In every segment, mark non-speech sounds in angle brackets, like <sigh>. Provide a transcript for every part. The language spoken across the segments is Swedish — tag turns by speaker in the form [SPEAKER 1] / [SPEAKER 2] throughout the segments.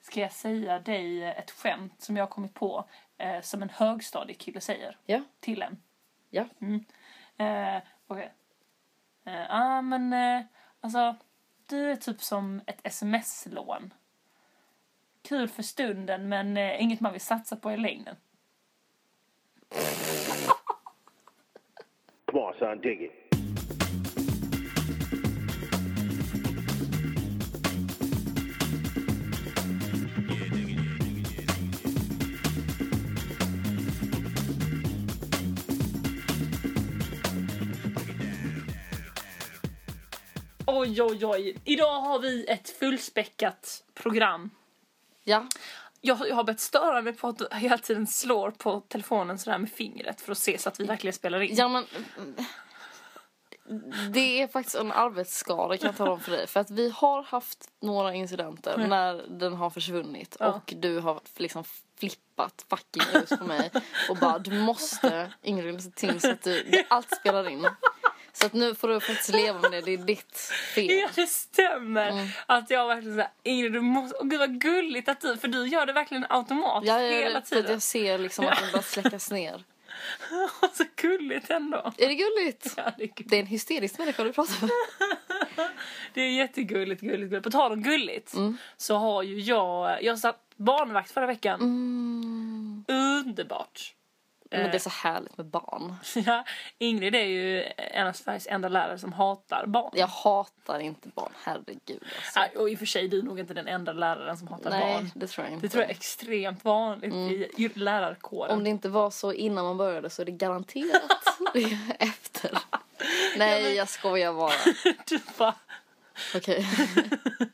[SPEAKER 1] ska jag säga dig ett skämt som jag har kommit på eh, som en högstadiekille säger
[SPEAKER 2] Ja.
[SPEAKER 1] till en.
[SPEAKER 2] Ja.
[SPEAKER 1] Mm. Eh, Okej. Eh, ah, men eh, alltså, du är typ som ett sms-lån. Kul för stunden men eh, inget man vill satsa på i längden.
[SPEAKER 3] Come on, son, dig it.
[SPEAKER 1] Oj, oj, oj. Idag har vi ett fullspäckat program.
[SPEAKER 2] Ja.
[SPEAKER 1] Jag, jag har bett störa mig på att du hela tiden slår på telefonen sådär med fingret för att se så att vi verkligen spelar in.
[SPEAKER 2] Ja, men... mm, Det är faktiskt en arbetsskada kan jag tala om för dig. För att vi har haft några incidenter när den har försvunnit
[SPEAKER 1] Ja.
[SPEAKER 2] och du har liksom flippat fucking ut på mig och bara du måste Ingrid se till så att du, allt spelar in. Så att nu får du faktiskt leva med det, det är ditt fel.
[SPEAKER 1] Ja, det stämmer.
[SPEAKER 2] Mm.
[SPEAKER 1] Att jag verkligen såhär, Ingrid du måste, åh gud vad gulligt att du, för du gör det verkligen automatiskt
[SPEAKER 2] Jag gör
[SPEAKER 1] hela
[SPEAKER 2] det för att
[SPEAKER 1] tiden. <laughs>
[SPEAKER 2] jag ser liksom att den bara släckas ner.
[SPEAKER 1] Så gulligt ändå.
[SPEAKER 2] Är det gulligt?
[SPEAKER 1] Ja, det, är gulligt.
[SPEAKER 2] Det är en hysterisk människa du pratar med.
[SPEAKER 1] det är jättegulligt, gulligt, gulligt. På tal om gulligt
[SPEAKER 2] Mm.
[SPEAKER 1] så har ju jag, jag satt barnvakt förra veckan.
[SPEAKER 2] Mm.
[SPEAKER 1] Mm, Underbart. <laughs>
[SPEAKER 2] Men
[SPEAKER 1] eh.
[SPEAKER 2] det är så härligt med barn.
[SPEAKER 1] Ja, Ingrid är ju en av Sveriges enda lärare som hatar barn.
[SPEAKER 2] Jag hatar inte barn, herregud alltså.
[SPEAKER 1] Nej, Och i och för sig, du är nog inte den enda läraren som hatar
[SPEAKER 2] Nej,
[SPEAKER 1] barn.
[SPEAKER 2] det tror jag inte.
[SPEAKER 1] Det tror jag är extremt vanligt i i lärarkåren.
[SPEAKER 2] Om det inte var så innan man började så är det garanterat det efter. Nej, jag
[SPEAKER 1] <laughs>
[SPEAKER 2] skojar bara.
[SPEAKER 1] <laughs> Du bara,
[SPEAKER 2] Okej.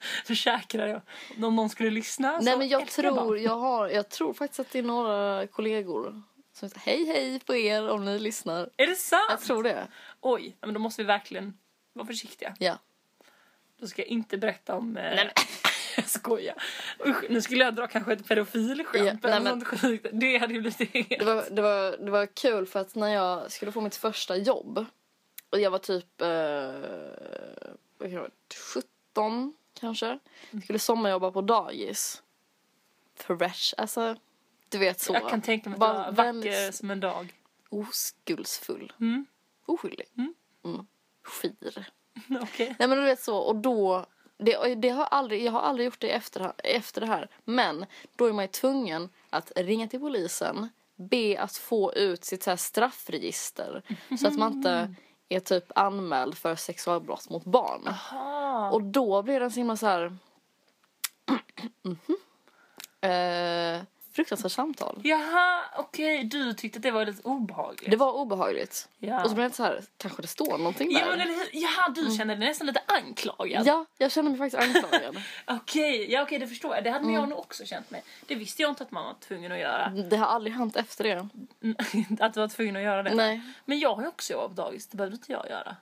[SPEAKER 1] <laughs> försäkrar jag. Om någon skulle lyssna så
[SPEAKER 2] Nej, men jag
[SPEAKER 1] Alltså, älskar barn.
[SPEAKER 2] tror, jag, har, jag tror faktiskt att det är några kollegor som säger hej hej på er om ni lyssnar.
[SPEAKER 1] Är det sant?
[SPEAKER 2] Jag tror det.
[SPEAKER 1] Oj, ja, men då måste vi verkligen vara försiktiga.
[SPEAKER 2] Ja.
[SPEAKER 1] Då ska jag inte berätta om... Eh... Nej, <laughs> jag skojar. Usch, nu skulle jag dra kanske ett
[SPEAKER 2] Ja,
[SPEAKER 1] pedofilskämt.
[SPEAKER 2] nej,
[SPEAKER 1] eller
[SPEAKER 2] men-
[SPEAKER 1] något sjukt. Det hade ju blivit
[SPEAKER 2] Det var, det, var, det var kul för att när jag skulle få mitt första jobb och jag var typ eh, vad kan jag vara, 17 kanske.
[SPEAKER 1] Mm.
[SPEAKER 2] Skulle sommarjobba på dagis. Fresh, alltså. Du vet så.
[SPEAKER 1] Jag kan tänka mig
[SPEAKER 2] Bara
[SPEAKER 1] att du var
[SPEAKER 2] väldigt
[SPEAKER 1] vacker som en dag. <laughs>
[SPEAKER 2] oskuldsfull.
[SPEAKER 1] Mm.
[SPEAKER 2] Oskyldig.
[SPEAKER 1] Mm.
[SPEAKER 2] Mm. Skir.
[SPEAKER 1] Okej.
[SPEAKER 2] Nej men du vet så och då det, och det har jag aldrig, jag har aldrig gjort det efter, efter det här. Men då är man ju tvungen att ringa till polisen, be att få ut sitt så här straffregister så att man inte är typ anmäld för sexualbrott mot barn.
[SPEAKER 1] Ah.
[SPEAKER 2] Och då blir den så himla så här... <clears throat> Mhm. eh, fruktansvärt samtal.
[SPEAKER 1] Jaha, okej. Du tyckte att det var lite obehagligt.
[SPEAKER 2] Det var obehagligt.
[SPEAKER 1] Ja.
[SPEAKER 2] Och så blev det så här, kanske det står någonting där.
[SPEAKER 1] Ja, men eller hur? Jaha, du kände dig nästan lite anklagad.
[SPEAKER 2] Mm. ja, jag känner mig faktiskt
[SPEAKER 1] <laughs>
[SPEAKER 2] anklagad.
[SPEAKER 1] Okej, ja, okej, det förstår jag. Det
[SPEAKER 2] Mm.
[SPEAKER 1] hade jag nog också känt mig. Det visste jag inte att man var tvungen att göra.
[SPEAKER 2] Det har aldrig hänt efter det.
[SPEAKER 1] Mm, <laughs> att du var tvungen att göra det.
[SPEAKER 2] Nej.
[SPEAKER 1] Men jag har ju också jobbat på dagis. Det behövde inte jag göra.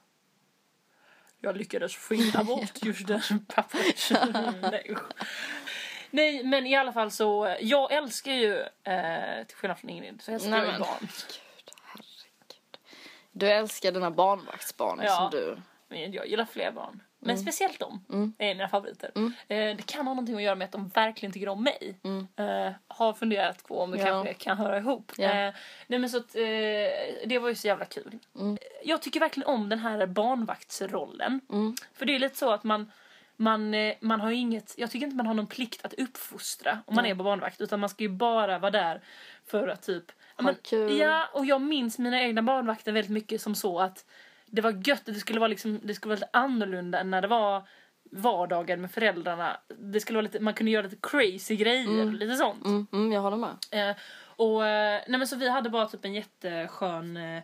[SPEAKER 1] Jag lyckades
[SPEAKER 2] <laughs>
[SPEAKER 1] skingra bort just den pappret. Mm, Nej, usch. Nej, men i alla fall så. Jag älskar ju, eh, till skillnad från Ingrid, så älskar
[SPEAKER 2] Nej,
[SPEAKER 1] jag ju
[SPEAKER 2] men-
[SPEAKER 1] barn.
[SPEAKER 2] Gud, herregud. Du älskar dina barnvaktsbarn
[SPEAKER 1] Ja.
[SPEAKER 2] som du.
[SPEAKER 1] Men jag gillar fler barn. Men
[SPEAKER 2] Mm.
[SPEAKER 1] speciellt de är mina favoriter. Eh, det kan ha någonting att göra med att de verkligen tycker om mig. Eh, har funderat på om det
[SPEAKER 2] Mm. Ja.
[SPEAKER 1] kanske kan höra ihop.
[SPEAKER 2] Ja.
[SPEAKER 1] Eh, nej men så att, eh, det var ju så jävla kul.
[SPEAKER 2] Mm.
[SPEAKER 1] Jag tycker verkligen om den här barnvaktsrollen.
[SPEAKER 2] Mm.
[SPEAKER 1] För det är lite så att man man, eh, man har ju inget, jag tycker inte man har någon plikt att uppfostra om man är på barnvakt utan man ska ju bara vara där för att typ ja, men,
[SPEAKER 2] kul.
[SPEAKER 1] ja och jag minns mina egna barnvakter väldigt mycket som så att det var gött, det skulle vara liksom, det skulle vara lite annorlunda än när det var vardagar med föräldrarna. Det skulle vara lite, man kunde göra lite crazy grejer, lite sånt.
[SPEAKER 2] Mm, mm, jag håller med.
[SPEAKER 1] Eh, och, eh, nej men så vi hade bara typ en jätteskön eh,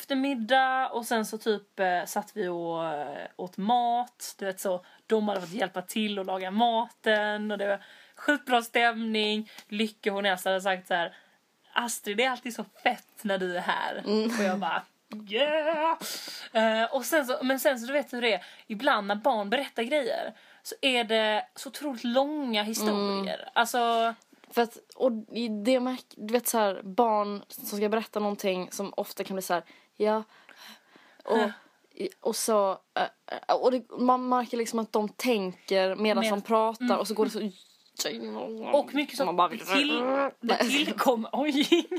[SPEAKER 1] eftermiddag och sen så typ eh, satt vi och eh, åt mat. Du vet så, de hade fått hjälpa till och laga maten och det var skitbra stämning. Lycke hon nästan hade sagt så här Astrid det är alltid så fett när du är här. Och jag bara Yeah! Eh, och sen så, men sen så du vet hur det är, ibland när barn berättar grejer så är det så otroligt långa historier. Alltså,
[SPEAKER 2] För att, och i det märk, du vet så här, barn som ska berätta någonting som ofta kan bli så här, ja, och, och så, eh, och det, man märker liksom att de tänker medan
[SPEAKER 1] Med- mm.
[SPEAKER 2] de pratar och så går det så
[SPEAKER 1] Och mycket
[SPEAKER 2] Man
[SPEAKER 1] som
[SPEAKER 2] bara
[SPEAKER 1] det,
[SPEAKER 2] vill-
[SPEAKER 1] till,
[SPEAKER 2] <laughs>
[SPEAKER 1] det
[SPEAKER 2] Nej.
[SPEAKER 1] tillkommer... Oj! <laughs>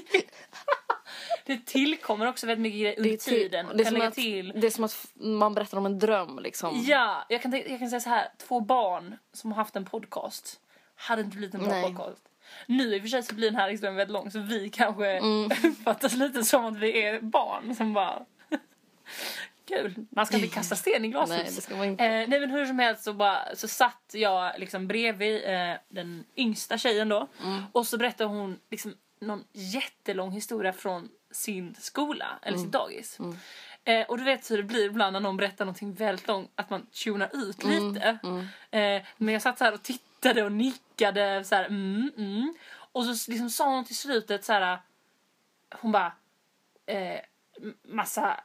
[SPEAKER 1] Det tillkommer också väldigt mycket grejer under
[SPEAKER 2] Det är till-
[SPEAKER 1] tiden.
[SPEAKER 2] Det är,
[SPEAKER 1] kan
[SPEAKER 2] som
[SPEAKER 1] lägga
[SPEAKER 2] att,
[SPEAKER 1] till.
[SPEAKER 2] det är som att f- man berättar om en dröm liksom.
[SPEAKER 1] Ja, jag kan, tänka- jag kan säga så här. Två barn som har haft en podcast hade inte blivit en bra
[SPEAKER 2] Nej.
[SPEAKER 1] podcast. Nu i och för sig så blir den här historien väldigt lång så vi kanske
[SPEAKER 2] Mm.
[SPEAKER 1] <laughs> uppfattas lite som att vi är barn som bara... <laughs> Kul! Man ska inte kasta sten i glashus.
[SPEAKER 2] Nej, det ska man inte.
[SPEAKER 1] Eh, nej men hur som helst så, bara, så satt jag liksom bredvid eh, den yngsta tjejen då
[SPEAKER 2] Mm.
[SPEAKER 1] och så berättade hon liksom någon jättelång historia från sin skola eller sitt
[SPEAKER 2] Mm.
[SPEAKER 1] dagis. Eh, och du vet hur det blir ibland när någon berättar någonting väldigt långt att man tunar ut
[SPEAKER 2] Mm,
[SPEAKER 1] lite. Eh, men jag satt så här och tittade och nickade så här mm, mm. Och så liksom sa hon till slutet så här hon bara eh, m- massa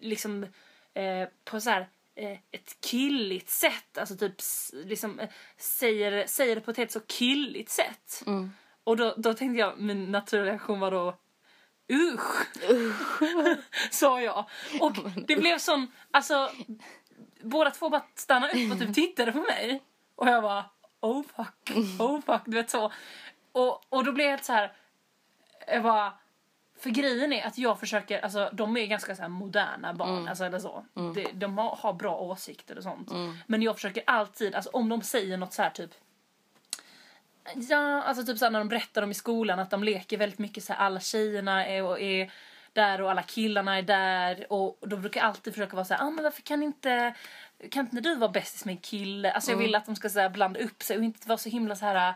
[SPEAKER 1] liksom eh, på så här eh, ett killigt sätt, alltså typ s- liksom eh, säger, säger det på ett helt så killigt sätt.
[SPEAKER 2] Mm.
[SPEAKER 1] Och då, då tänkte jag, min naturliga reaktion var då usch, <laughs> sa jag. Och det blev sån, alltså båda två bara stannade upp och typ tittade på mig. Och jag bara oh fuck, oh fuck, du vet så. Och, och då blev jag helt så här, jag bara eh, för grejen är att jag försöker, alltså de är ganska så här moderna barn,
[SPEAKER 2] Mm.
[SPEAKER 1] alltså eller så. De, de har, har bra åsikter och sånt.
[SPEAKER 2] Mm.
[SPEAKER 1] Men jag försöker alltid, alltså om de säger något så här typ Ja, alltså typ så här när de berättar om i skolan att de leker väldigt mycket så här alla tjejerna är, och är där och alla killarna är där och då brukar jag alltid försöka vara så här, ah, men varför kan inte kan inte du vara bästis med en kille? Alltså
[SPEAKER 2] Mm.
[SPEAKER 1] jag vill att de ska så här blanda upp sig och inte vara så himla så här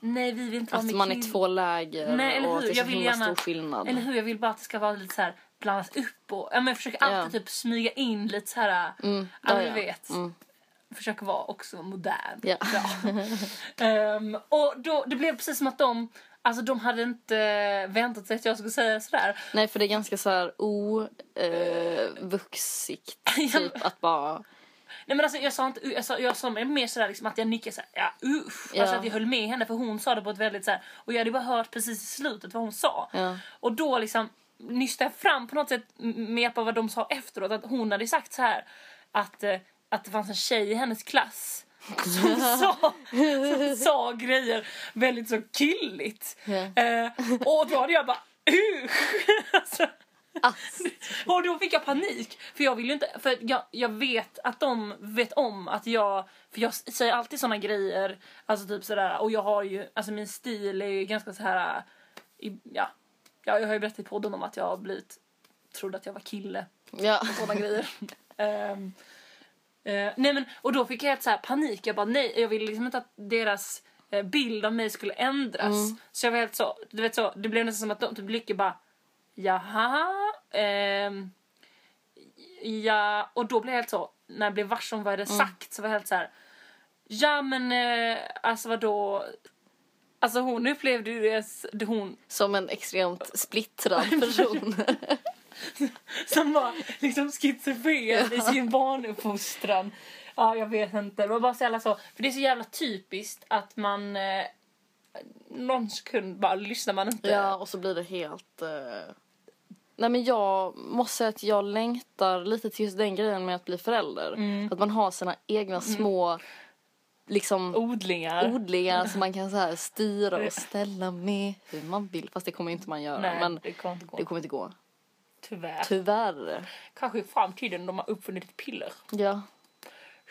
[SPEAKER 1] nej vi vill inte vara
[SPEAKER 2] Att
[SPEAKER 1] med
[SPEAKER 2] man
[SPEAKER 1] kill-
[SPEAKER 2] är två läger
[SPEAKER 1] Nej, eller hur?
[SPEAKER 2] och att det är så
[SPEAKER 1] Jag vill
[SPEAKER 2] himla
[SPEAKER 1] gärna-
[SPEAKER 2] stor skillnad.
[SPEAKER 1] Eller hur? Jag vill bara att det ska vara lite så här blandas upp och ja, men jag försöker alltid typ smyga in lite så här mm, ja,
[SPEAKER 2] ja,
[SPEAKER 1] du
[SPEAKER 2] ja.
[SPEAKER 1] vet. Försöker vara också modern.
[SPEAKER 2] Ja. <laughs>
[SPEAKER 1] Ehm, och då, det blev precis som att de Alltså de hade inte väntat sig att jag skulle säga sådär.
[SPEAKER 2] Nej, för det är ganska så här ovuxigt
[SPEAKER 1] <laughs> Ja, men-
[SPEAKER 2] typ att bara...
[SPEAKER 1] Nej men alltså jag sa inte, jag sa, jag sa mer sådär liksom att jag nickade såhär, ja usch.
[SPEAKER 2] Ja.
[SPEAKER 1] Alltså att jag höll med henne för hon sa det på ett väldigt såhär, och jag hade bara hört precis i slutet vad hon sa.
[SPEAKER 2] Ja.
[SPEAKER 1] Och då liksom nystade jag fram på något sätt m- med hjälp av vad de sa efteråt att hon hade sagt så här att, eh, att det fanns en tjej i hennes klass
[SPEAKER 2] <laughs>
[SPEAKER 1] som sa, som sa grejer väldigt så killigt.
[SPEAKER 2] Ja.
[SPEAKER 1] Eh, och då hade jag bara usch! <laughs> alltså,
[SPEAKER 2] Ass.
[SPEAKER 1] och då fick jag panik. För jag vill ju inte, för jag, jag vet att de vet om att jag, för jag s- säger alltid såna grejer, alltså typ sådär, och jag har ju, alltså min stil är ju ganska så här i, ja, jag, jag har ju berättat i podden om att jag har blivit, trodde att jag var kille
[SPEAKER 2] Ja.
[SPEAKER 1] sådana grejer. <laughs> Ehm, eh, nej men, och då fick jag ett så här panik. Jag bara nej, jag ville liksom inte att deras eh, bild av mig skulle ändras. Så jag var helt så, du vet så, det blev nästan som att de typ blickade bara jaha, ehm, ja, och då blev jag helt så, när jag blev varse om vad jag hade sagt så var jag helt så här ja men eh, alltså vadå, alltså hon upplevde ju det, hon
[SPEAKER 2] Som en extremt
[SPEAKER 1] <laughs>
[SPEAKER 2] splittrad person.
[SPEAKER 1] som var liksom schizofren i sin barnuppfostran. Ja, jag vet inte. Det var bara så jävla så. För det är så jävla typiskt att man... Eh, någon sekund bara lyssnar man inte.
[SPEAKER 2] Ja, och så blir det helt... eh, Nej, men jag måste säga att jag längtar lite till just den grejen med att bli förälder.
[SPEAKER 1] Mm.
[SPEAKER 2] Att man har sina egna små liksom
[SPEAKER 1] Odlingar.
[SPEAKER 2] odlingar som man kan så här styra och ställa med hur man vill. Fast det kommer inte man göra.
[SPEAKER 1] Nej,
[SPEAKER 2] men
[SPEAKER 1] det kommer inte gå.
[SPEAKER 2] det kommer inte gå.
[SPEAKER 1] Tyvärr.
[SPEAKER 2] Tyvärr.
[SPEAKER 1] Kanske i framtiden de har uppfunnit ett piller.
[SPEAKER 2] Ja.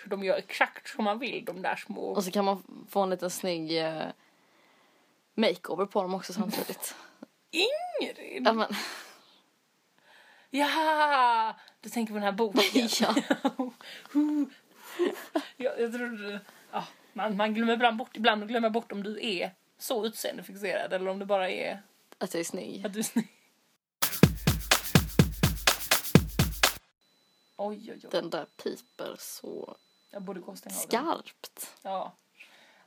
[SPEAKER 1] Så de gör exakt som man vill, de där små...
[SPEAKER 2] Och så kan man få en liten snygg eh, makeover på dem också samtidigt.
[SPEAKER 1] Ingrid!
[SPEAKER 2] Ja, men,
[SPEAKER 1] Jaha! Du tänker på den här boken.
[SPEAKER 2] <laughs> <laughs> ja.
[SPEAKER 1] <laughs> jag, jag trodde... Ja, man, man glömmer ibland bort, ibland glömmer jag bort om du är så utseendefixerad eller om det bara är
[SPEAKER 2] Att jag är snygg.
[SPEAKER 1] Att du är snygg. Oj, oj, oj.
[SPEAKER 2] Den där piper så
[SPEAKER 1] Jag borde gå och stänga av den.
[SPEAKER 2] skarpt.
[SPEAKER 1] Ja.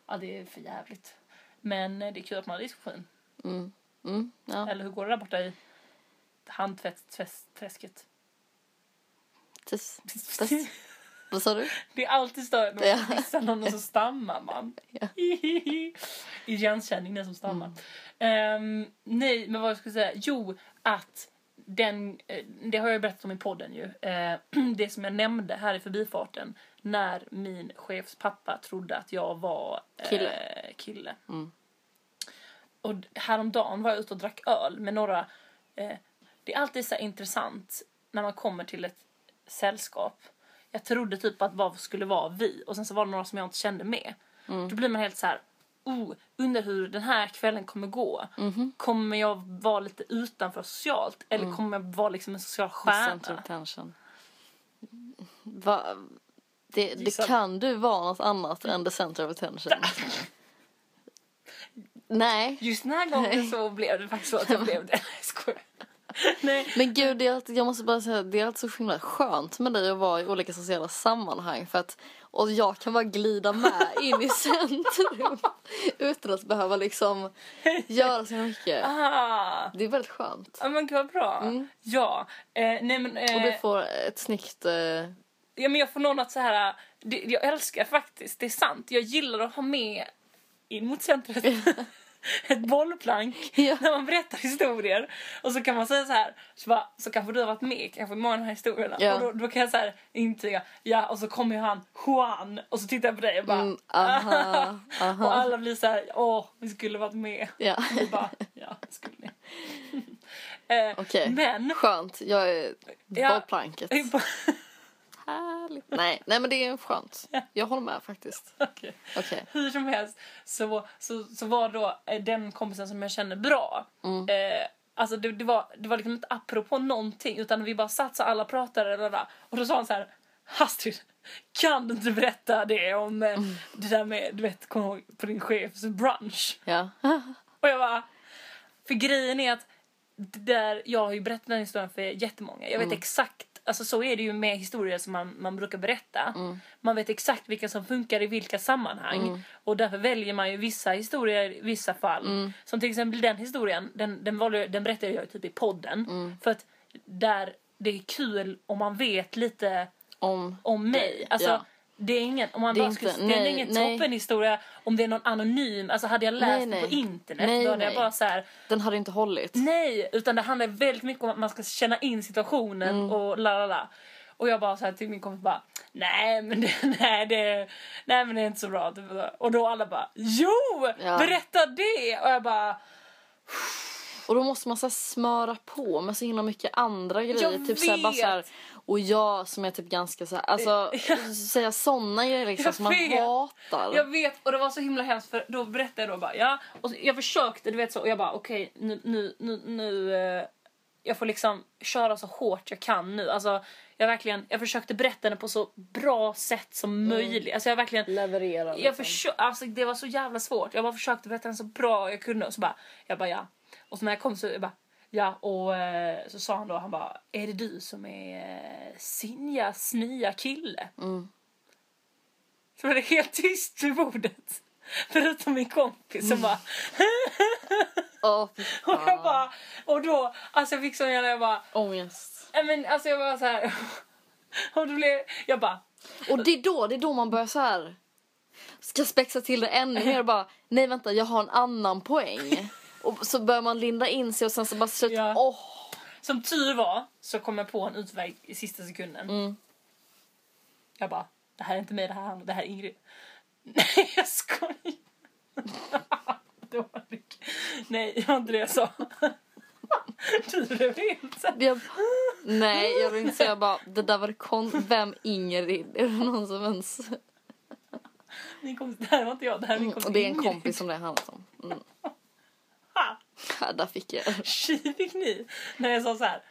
[SPEAKER 1] ja, det är för jävligt. Men eh, det är kul att man har diskussion.
[SPEAKER 2] Mm. Mm. Ja,
[SPEAKER 1] Eller hur går det där borta i handtvättsträsket?
[SPEAKER 2] precis. Precis. Vad sa du?
[SPEAKER 1] Det är alltid större när man
[SPEAKER 2] Ja.
[SPEAKER 1] kissar någon och så stammar man. <laughs>
[SPEAKER 2] Ja. Mm.
[SPEAKER 1] Igenkänning, den som stammar. Ehm, nej, men vad jag skulle säga? Jo, att Ehm, <clears throat> den, eh, det har jag berättat om i podden ju. Eh, det som jag nämnde här i förbifarten. när min chefs pappa trodde att jag var eh,
[SPEAKER 2] Kille. Mm.
[SPEAKER 1] kille. Och d- häromdagen var jag ute och drack öl med några... Eh, det är alltid så här intressant när man kommer till ett sällskap. Jag trodde typ att vad skulle vara vi och sen så var det några som jag inte kände med.
[SPEAKER 2] Mm.
[SPEAKER 1] Då blir man helt så här... Oh, undrar hur den här kvällen kommer gå.
[SPEAKER 2] Mhm.
[SPEAKER 1] Kommer jag vara lite utanför socialt eller
[SPEAKER 2] Mm.
[SPEAKER 1] kommer jag vara liksom en social
[SPEAKER 2] Center
[SPEAKER 1] stjärna?
[SPEAKER 2] of tension. Va? Det,
[SPEAKER 1] Gissa.
[SPEAKER 2] det kan du vara något annat än the center of <laughs> attention. Nej.
[SPEAKER 1] Just den här gången så blev det faktiskt så att jag
[SPEAKER 2] <laughs>
[SPEAKER 1] blev det. Nej, jag skojar. Nej.
[SPEAKER 2] Men gud, det är alltid, jag måste bara säga det är alltid så himla skönt med dig att vara i olika sociala sammanhang för att och jag kan bara glida med in
[SPEAKER 1] <laughs>
[SPEAKER 2] i centrum utan att behöva liksom göra så mycket.
[SPEAKER 1] Ah.
[SPEAKER 2] Det är väldigt skönt.
[SPEAKER 1] Ja men gud vad bra. Ja. Eh, nej men... Eh,
[SPEAKER 2] Mm. Och du får ett snyggt... Eh,
[SPEAKER 1] <laughs> Ja, men jag får nog något så här... äh, Det, jag älskar faktiskt, det är sant. Jag gillar att ha med in mot centret <laughs> ett bollplank
[SPEAKER 2] Ja.
[SPEAKER 1] när man berättar historier. Och så kan man säga så här, så, bara, så kanske du har varit med kanske i många av de här historierna.
[SPEAKER 2] Ja.
[SPEAKER 1] Och då, då kan jag så här intyga, ja och så kommer ju han Juan och så tittar jag på dig och bara
[SPEAKER 2] Mm, aha,
[SPEAKER 1] <laughs>
[SPEAKER 2] aha.
[SPEAKER 1] Och alla blir så här, åh vi skulle varit med.
[SPEAKER 2] ja.
[SPEAKER 1] Vi bara, ja skulle ni. <laughs> eh,
[SPEAKER 2] Okej.
[SPEAKER 1] Men.
[SPEAKER 2] Skönt. Jag är
[SPEAKER 1] Ja. <laughs>
[SPEAKER 2] bollplanket. Härligt. Nej, nej, men det är skönt. Jag håller med faktiskt.
[SPEAKER 1] <laughs> Okej.
[SPEAKER 2] Okej.
[SPEAKER 1] Hur som helst så, så, så var då eh, den kompisen som jag känner bra. Eh, alltså det, det, var, det var liksom inte apropå någonting utan vi bara satt så alla pratade och, och då sa han så här Astrid, kan du inte berätta det om eh, det där med, du vet, kom ihåg på din chefs brunch?
[SPEAKER 2] Ja. <laughs>
[SPEAKER 1] Och jag bara... För grejen är att det där, jag har ju berättat den historien för jättemånga. Jag vet exakt, alltså så är det ju med historier som man, man brukar berätta. Man vet exakt vilka som funkar i vilka sammanhang. Och därför väljer man ju vissa historier i vissa fall. Som till exempel den historien, den, den, valde, jag- den berättade jag ju typ i podden. För att där det är kul om man vet lite
[SPEAKER 2] Om...
[SPEAKER 1] om mig. Alltså,
[SPEAKER 2] Ja.
[SPEAKER 1] Det är ingen, om man
[SPEAKER 2] Det är
[SPEAKER 1] bara skulle,
[SPEAKER 2] inte-
[SPEAKER 1] det är
[SPEAKER 2] nej,
[SPEAKER 1] ingen
[SPEAKER 2] nej.
[SPEAKER 1] toppenhistoria om det är någon anonym. Alltså hade jag läst det
[SPEAKER 2] Nej,
[SPEAKER 1] på
[SPEAKER 2] nej.
[SPEAKER 1] internet
[SPEAKER 2] Nej,
[SPEAKER 1] då hade jag
[SPEAKER 2] nej.
[SPEAKER 1] bara så här.
[SPEAKER 2] Den hade inte hållit.
[SPEAKER 1] nej. Utan det handlar väldigt mycket om att man ska känna in situationen
[SPEAKER 2] Mm.
[SPEAKER 1] och la la la. Och jag bara så här till min kompis bara nej men det, <laughs> nej, det, nej men det är inte så bra. Typ så. Och då alla bara jo
[SPEAKER 2] Ja.
[SPEAKER 1] berätta det och jag bara
[SPEAKER 2] Och då måste man så här smöra på med så himla mycket andra grejer.
[SPEAKER 1] Jag
[SPEAKER 2] typ så här, bara så här,
[SPEAKER 1] vet.
[SPEAKER 2] och jag som är typ ganska så här,
[SPEAKER 1] <laughs>
[SPEAKER 2] alltså säga såna grejer liksom
[SPEAKER 1] Jag
[SPEAKER 2] som man
[SPEAKER 1] vet.
[SPEAKER 2] hatar.
[SPEAKER 1] Jag vet och det var så himla hemskt för då berättade jag då bara ja och så, jag försökte du vet så och jag bara okej nu nu nu, nu eh, jag får liksom köra så hårt jag kan nu alltså jag verkligen jag försökte berätta den på så bra sätt som möjligt alltså jag verkligen
[SPEAKER 2] Leverera.
[SPEAKER 1] jag försö- alltså, det var så jävla svårt. Jag bara försökte berätta den så bra jag kunde. Och så bara, jag bara ja. Och så när jag kom så jag bara ja. Och eh, så sa han då, han bara är det du som är eh, Sinjas nya kille? Så var det helt tyst vid bordet. Förutom min kompis som bara <laughs> och jag bara och då alltså jag fick sån jävla jag bara
[SPEAKER 2] Oh, Ångest.
[SPEAKER 1] nej men alltså jag bara så här <laughs> och då blev jag bara
[SPEAKER 2] Och det är då, det är då man börjar så här ska spexa till det ännu mer och bara nej vänta jag har en annan poäng. Och så börjar man linda in sig och sen så bara slut.
[SPEAKER 1] Ja.
[SPEAKER 2] Åh.
[SPEAKER 1] Som tur var så kom jag på en utväg i sista sekunden.
[SPEAKER 2] Mm.
[SPEAKER 1] Jag bara, det här är inte mig, det här är han, det här är Ingrid. <laughs> Nej, jag skojar. <laughs> Dålig. Nej, det var inte det jag sa. <laughs> Du blev helt såhär.
[SPEAKER 2] Jag, nej, jag vill inte säga bara, det där var det kon... Vem Ingrid? Är det någon som ens...
[SPEAKER 1] Min kompis, det här var inte jag, det här är min kompis
[SPEAKER 2] Mm, Och det är en
[SPEAKER 1] Ingrid.
[SPEAKER 2] kompis
[SPEAKER 1] <laughs>
[SPEAKER 2] som <laughs> det handlar om. Mm.
[SPEAKER 1] Ha!
[SPEAKER 2] Ja, Där fick jag.
[SPEAKER 1] Tji fick ni. När jag sa så här.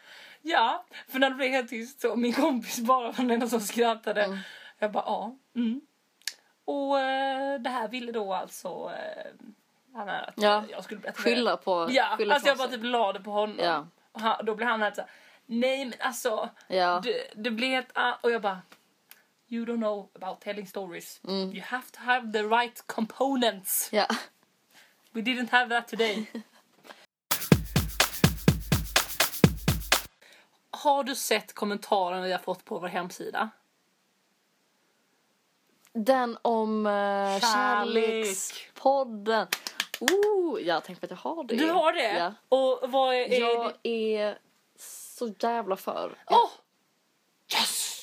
[SPEAKER 1] Ja, för när det blev helt tyst så min kompis bara var den enda som skrattade. Jag bara ja. Mm. Och eh, det här ville då alltså eh, han här att
[SPEAKER 2] Ja.
[SPEAKER 1] jag skulle berätta för er.
[SPEAKER 2] Skylla på...
[SPEAKER 1] Ja,
[SPEAKER 2] skylla
[SPEAKER 1] alltså
[SPEAKER 2] ifrån
[SPEAKER 1] jag bara
[SPEAKER 2] sig.
[SPEAKER 1] typ la det på honom.
[SPEAKER 2] Ja.
[SPEAKER 1] Och han, då blev han helt så här. Nej men alltså.
[SPEAKER 2] Ja.
[SPEAKER 1] Det, det blev ett... ah." Och jag bara. You don't know about telling stories.
[SPEAKER 2] Mm.
[SPEAKER 1] You have to have the right components.
[SPEAKER 2] Ja.
[SPEAKER 1] We didn't have that today. Har du sett kommentarerna vi har fått på vår hemsida?
[SPEAKER 2] Den om uh,
[SPEAKER 1] Kärlek.
[SPEAKER 2] kärlekspodden. Oh, jag tänkte att jag har det.
[SPEAKER 1] Du har det?
[SPEAKER 2] Ja.
[SPEAKER 1] Och vad är... är
[SPEAKER 2] Jag
[SPEAKER 1] det?
[SPEAKER 2] är så jävla för.
[SPEAKER 1] Åh! Yes!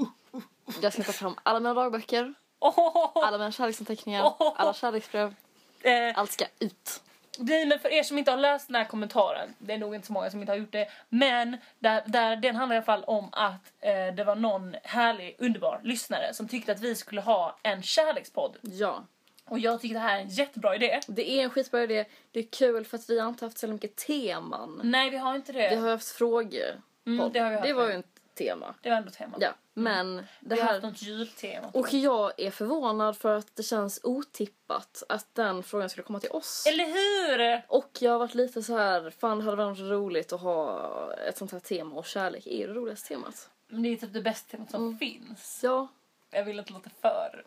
[SPEAKER 1] Uh, uh,
[SPEAKER 2] Jag ska ta fram alla mina dagböcker,
[SPEAKER 1] Åh,
[SPEAKER 2] alla mina kärleksanteckningar, alla kärleksbrev.
[SPEAKER 1] eh,
[SPEAKER 2] Allt ska ut.
[SPEAKER 1] Nej, men för er som inte har läst den här kommentaren, det är nog inte så många som inte har gjort det, men där, där, den handlar i alla fall om att eh, det var någon härlig, underbar lyssnare som tyckte att vi skulle ha en kärlekspodd.
[SPEAKER 2] Ja.
[SPEAKER 1] Och jag tycker det här är en jättebra idé.
[SPEAKER 2] Det är en skitbra idé. Det är kul för att vi har inte haft så jävla mycket teman.
[SPEAKER 1] Nej, vi har inte det.
[SPEAKER 2] Vi har haft frågor.
[SPEAKER 1] Mm, det har vi haft.
[SPEAKER 2] Mm. det var ju ett tema.
[SPEAKER 1] Det var ändå temat.
[SPEAKER 2] Ja, men det
[SPEAKER 1] Vi har haft
[SPEAKER 2] här...
[SPEAKER 1] något jultema.
[SPEAKER 2] Och jag är förvånad för att det känns otippat att den frågan skulle komma till oss.
[SPEAKER 1] Eller hur?
[SPEAKER 2] Och jag har varit lite så här, fan det hade varit roligt att ha ett sånt här tema och kärlek är ju det roligaste temat.
[SPEAKER 1] Men det är typ det bästa temat som
[SPEAKER 2] Mm.
[SPEAKER 1] finns.
[SPEAKER 2] Ja,
[SPEAKER 1] Jag vill inte låta
[SPEAKER 2] <laughs>
[SPEAKER 1] för.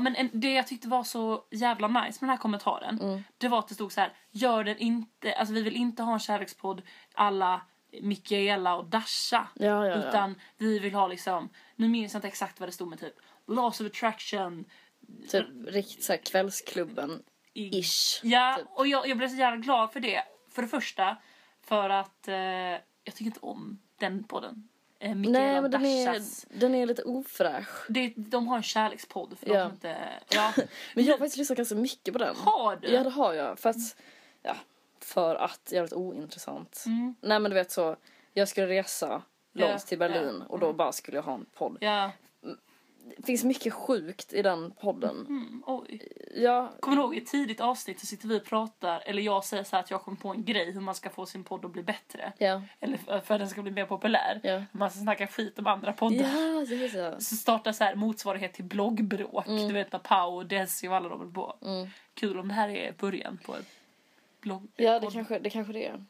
[SPEAKER 1] Men en, det jag tyckte var så jävla nice med den här kommentaren.
[SPEAKER 2] Mm.
[SPEAKER 1] Det var att det stod så här. Gör den inte, alltså vi vill inte ha en kärlekspodd alla Mikaela och Dasha.
[SPEAKER 2] Ja, ja, ja.
[SPEAKER 1] Utan vi vill ha liksom, nu minns jag inte exakt vad det stod men typ Laws of attraction.
[SPEAKER 2] typ riktigt så här kvällsklubben-ish.
[SPEAKER 1] Ja,
[SPEAKER 2] Typ.
[SPEAKER 1] och jag, jag blev så jävla glad för det. För det första, för att eh, jag tycker inte om den podden. Eh, Mikaela
[SPEAKER 2] Nej
[SPEAKER 1] och
[SPEAKER 2] men den är,
[SPEAKER 1] Dashas.
[SPEAKER 2] den är lite ofräsch.
[SPEAKER 1] Det, de har en kärlekspodd för
[SPEAKER 2] Ja.
[SPEAKER 1] de som inte... Ja.
[SPEAKER 2] Men jag har faktiskt lyssnat ganska mycket på den.
[SPEAKER 1] Har du?
[SPEAKER 2] Ja det har jag. För att, ja, för att jävligt ointressant.
[SPEAKER 1] Mm.
[SPEAKER 2] Nej men du vet så, jag skulle resa långt
[SPEAKER 1] Ja,
[SPEAKER 2] till Berlin
[SPEAKER 1] ja. Mm.
[SPEAKER 2] och då bara skulle jag ha en podd.
[SPEAKER 1] ja.
[SPEAKER 2] Det finns mycket sjukt i den podden.
[SPEAKER 1] Mm, oj.
[SPEAKER 2] Ja,
[SPEAKER 1] Kommer du ihåg i ett tidigt avsnitt så sitter vi och pratar, eller jag säger så här att jag kom på en grej hur man ska få sin podd att bli bättre.
[SPEAKER 2] ja,
[SPEAKER 1] Eller för, för att den ska bli mer populär.
[SPEAKER 2] Ja.
[SPEAKER 1] Hur Man ska snacka skit om andra poddar.
[SPEAKER 2] ja, ja, ja.
[SPEAKER 1] Så startar så här motsvarighet till bloggbråk. Du vet när Pau och Desi och alla de är på.
[SPEAKER 2] Mm.
[SPEAKER 1] Kul om det här är början på ett blogg...
[SPEAKER 2] ja det,
[SPEAKER 1] podd-
[SPEAKER 2] kanske, det kanske det är.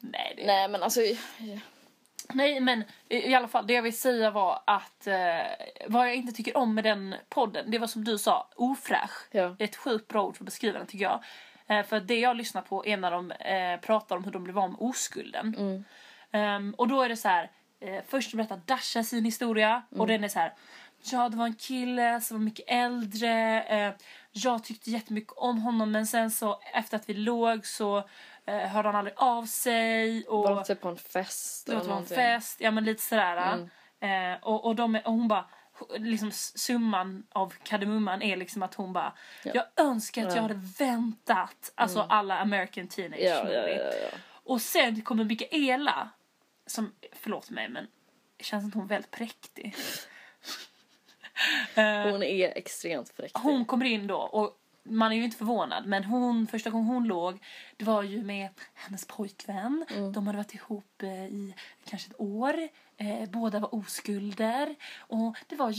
[SPEAKER 1] Nej, det
[SPEAKER 2] Nej men alltså,
[SPEAKER 1] Nej, men i i alla fall, det jag vill säga var att eh, vad jag inte tycker om med den podden, det var som du sa, ofräsch.
[SPEAKER 2] Ja.
[SPEAKER 1] Det är ett sjukt bra ord för att beskriva den tycker jag. Eh, för det jag lyssnar på är när de eh, pratar om hur de blev av med oskulden.
[SPEAKER 2] Mm.
[SPEAKER 1] Ehm, och då är det så här, eh, först berättar Dasha sin historia och
[SPEAKER 2] Mm.
[SPEAKER 1] den är så här. Ja, det var en kille som var mycket äldre. Eh, jag tyckte jättemycket om honom men sen så efter att vi låg så eh, hörde han aldrig av sig. Och...
[SPEAKER 2] var det typ på en fest
[SPEAKER 1] Det
[SPEAKER 2] eller
[SPEAKER 1] var en
[SPEAKER 2] någonting? Mm.
[SPEAKER 1] fest, ja men lite sådär. Eh, och, och, de, är- och hon bara, liksom summan av kardemumman är liksom att hon bara, jag önskar att jag hade väntat. Alltså alla American Teenage
[SPEAKER 2] Mm. Ja, ja,
[SPEAKER 1] movie.
[SPEAKER 2] ja, ja.
[SPEAKER 1] Och sen kommer Mikaela, som, förlåt mig men, det känns inte hon väldigt präktig? <laughs> Eh,
[SPEAKER 2] Hon är extremt typ. präktig.
[SPEAKER 1] Hon kommer in då och man är ju inte förvånad men hon, första gången hon låg det var ju med hennes pojkvän.
[SPEAKER 2] Mm.
[SPEAKER 1] De hade varit ihop eh, i kanske ett år. Eh, båda var oskulder och det var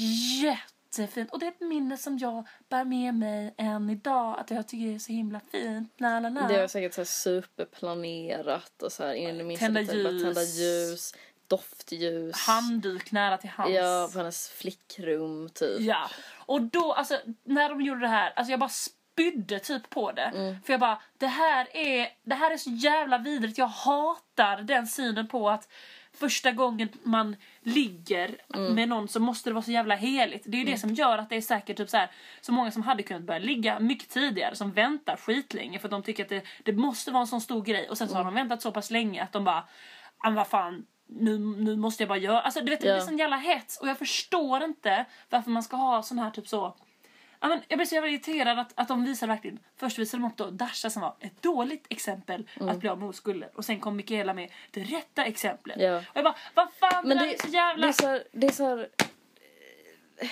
[SPEAKER 1] jättefint. Och det är ett minne som jag bär med mig än idag att jag tycker det är så himla fint. La, la, la.
[SPEAKER 2] Det är säkert så här superplanerat och så här in i det minsta
[SPEAKER 1] Tända
[SPEAKER 2] detalj. Bara
[SPEAKER 1] ljus.
[SPEAKER 2] tända ljus, doftljus.
[SPEAKER 1] Handduk nära till hands.
[SPEAKER 2] Ja, på hennes flickrum typ.
[SPEAKER 1] Ja, och då, alltså när de gjorde det här, alltså jag bara spydde typ på det. För jag bara, det här, är, det här är så jävla vidrigt. Jag hatar den synen på att första gången man ligger med någon så måste det vara så jävla heligt. Det är ju det som gör att det är säkert typ så här så många som hade kunnat börja ligga mycket tidigare som väntar skitlänge för att de tycker att det, det måste vara en sån stor grej och sen så har de väntat så pass länge att de bara, "Ah, men vad fan nu, nu måste jag bara göra, alltså du vet det
[SPEAKER 2] Ja.
[SPEAKER 1] blir sån jävla hets och jag förstår inte varför man ska ha sån här typ så Ja, men jag blir så jävla irriterad att, att de visar verkligen, först visade de upp då Dasha som var ett dåligt exempel
[SPEAKER 2] Mm.
[SPEAKER 1] att bli av med oskulden och sen kom Mikaela med det rätta exemplet.
[SPEAKER 2] Ja.
[SPEAKER 1] Och jag bara, vad fan
[SPEAKER 2] Men
[SPEAKER 1] det,
[SPEAKER 2] det,
[SPEAKER 1] där är så jävla...
[SPEAKER 2] det är så här, det är så här eh,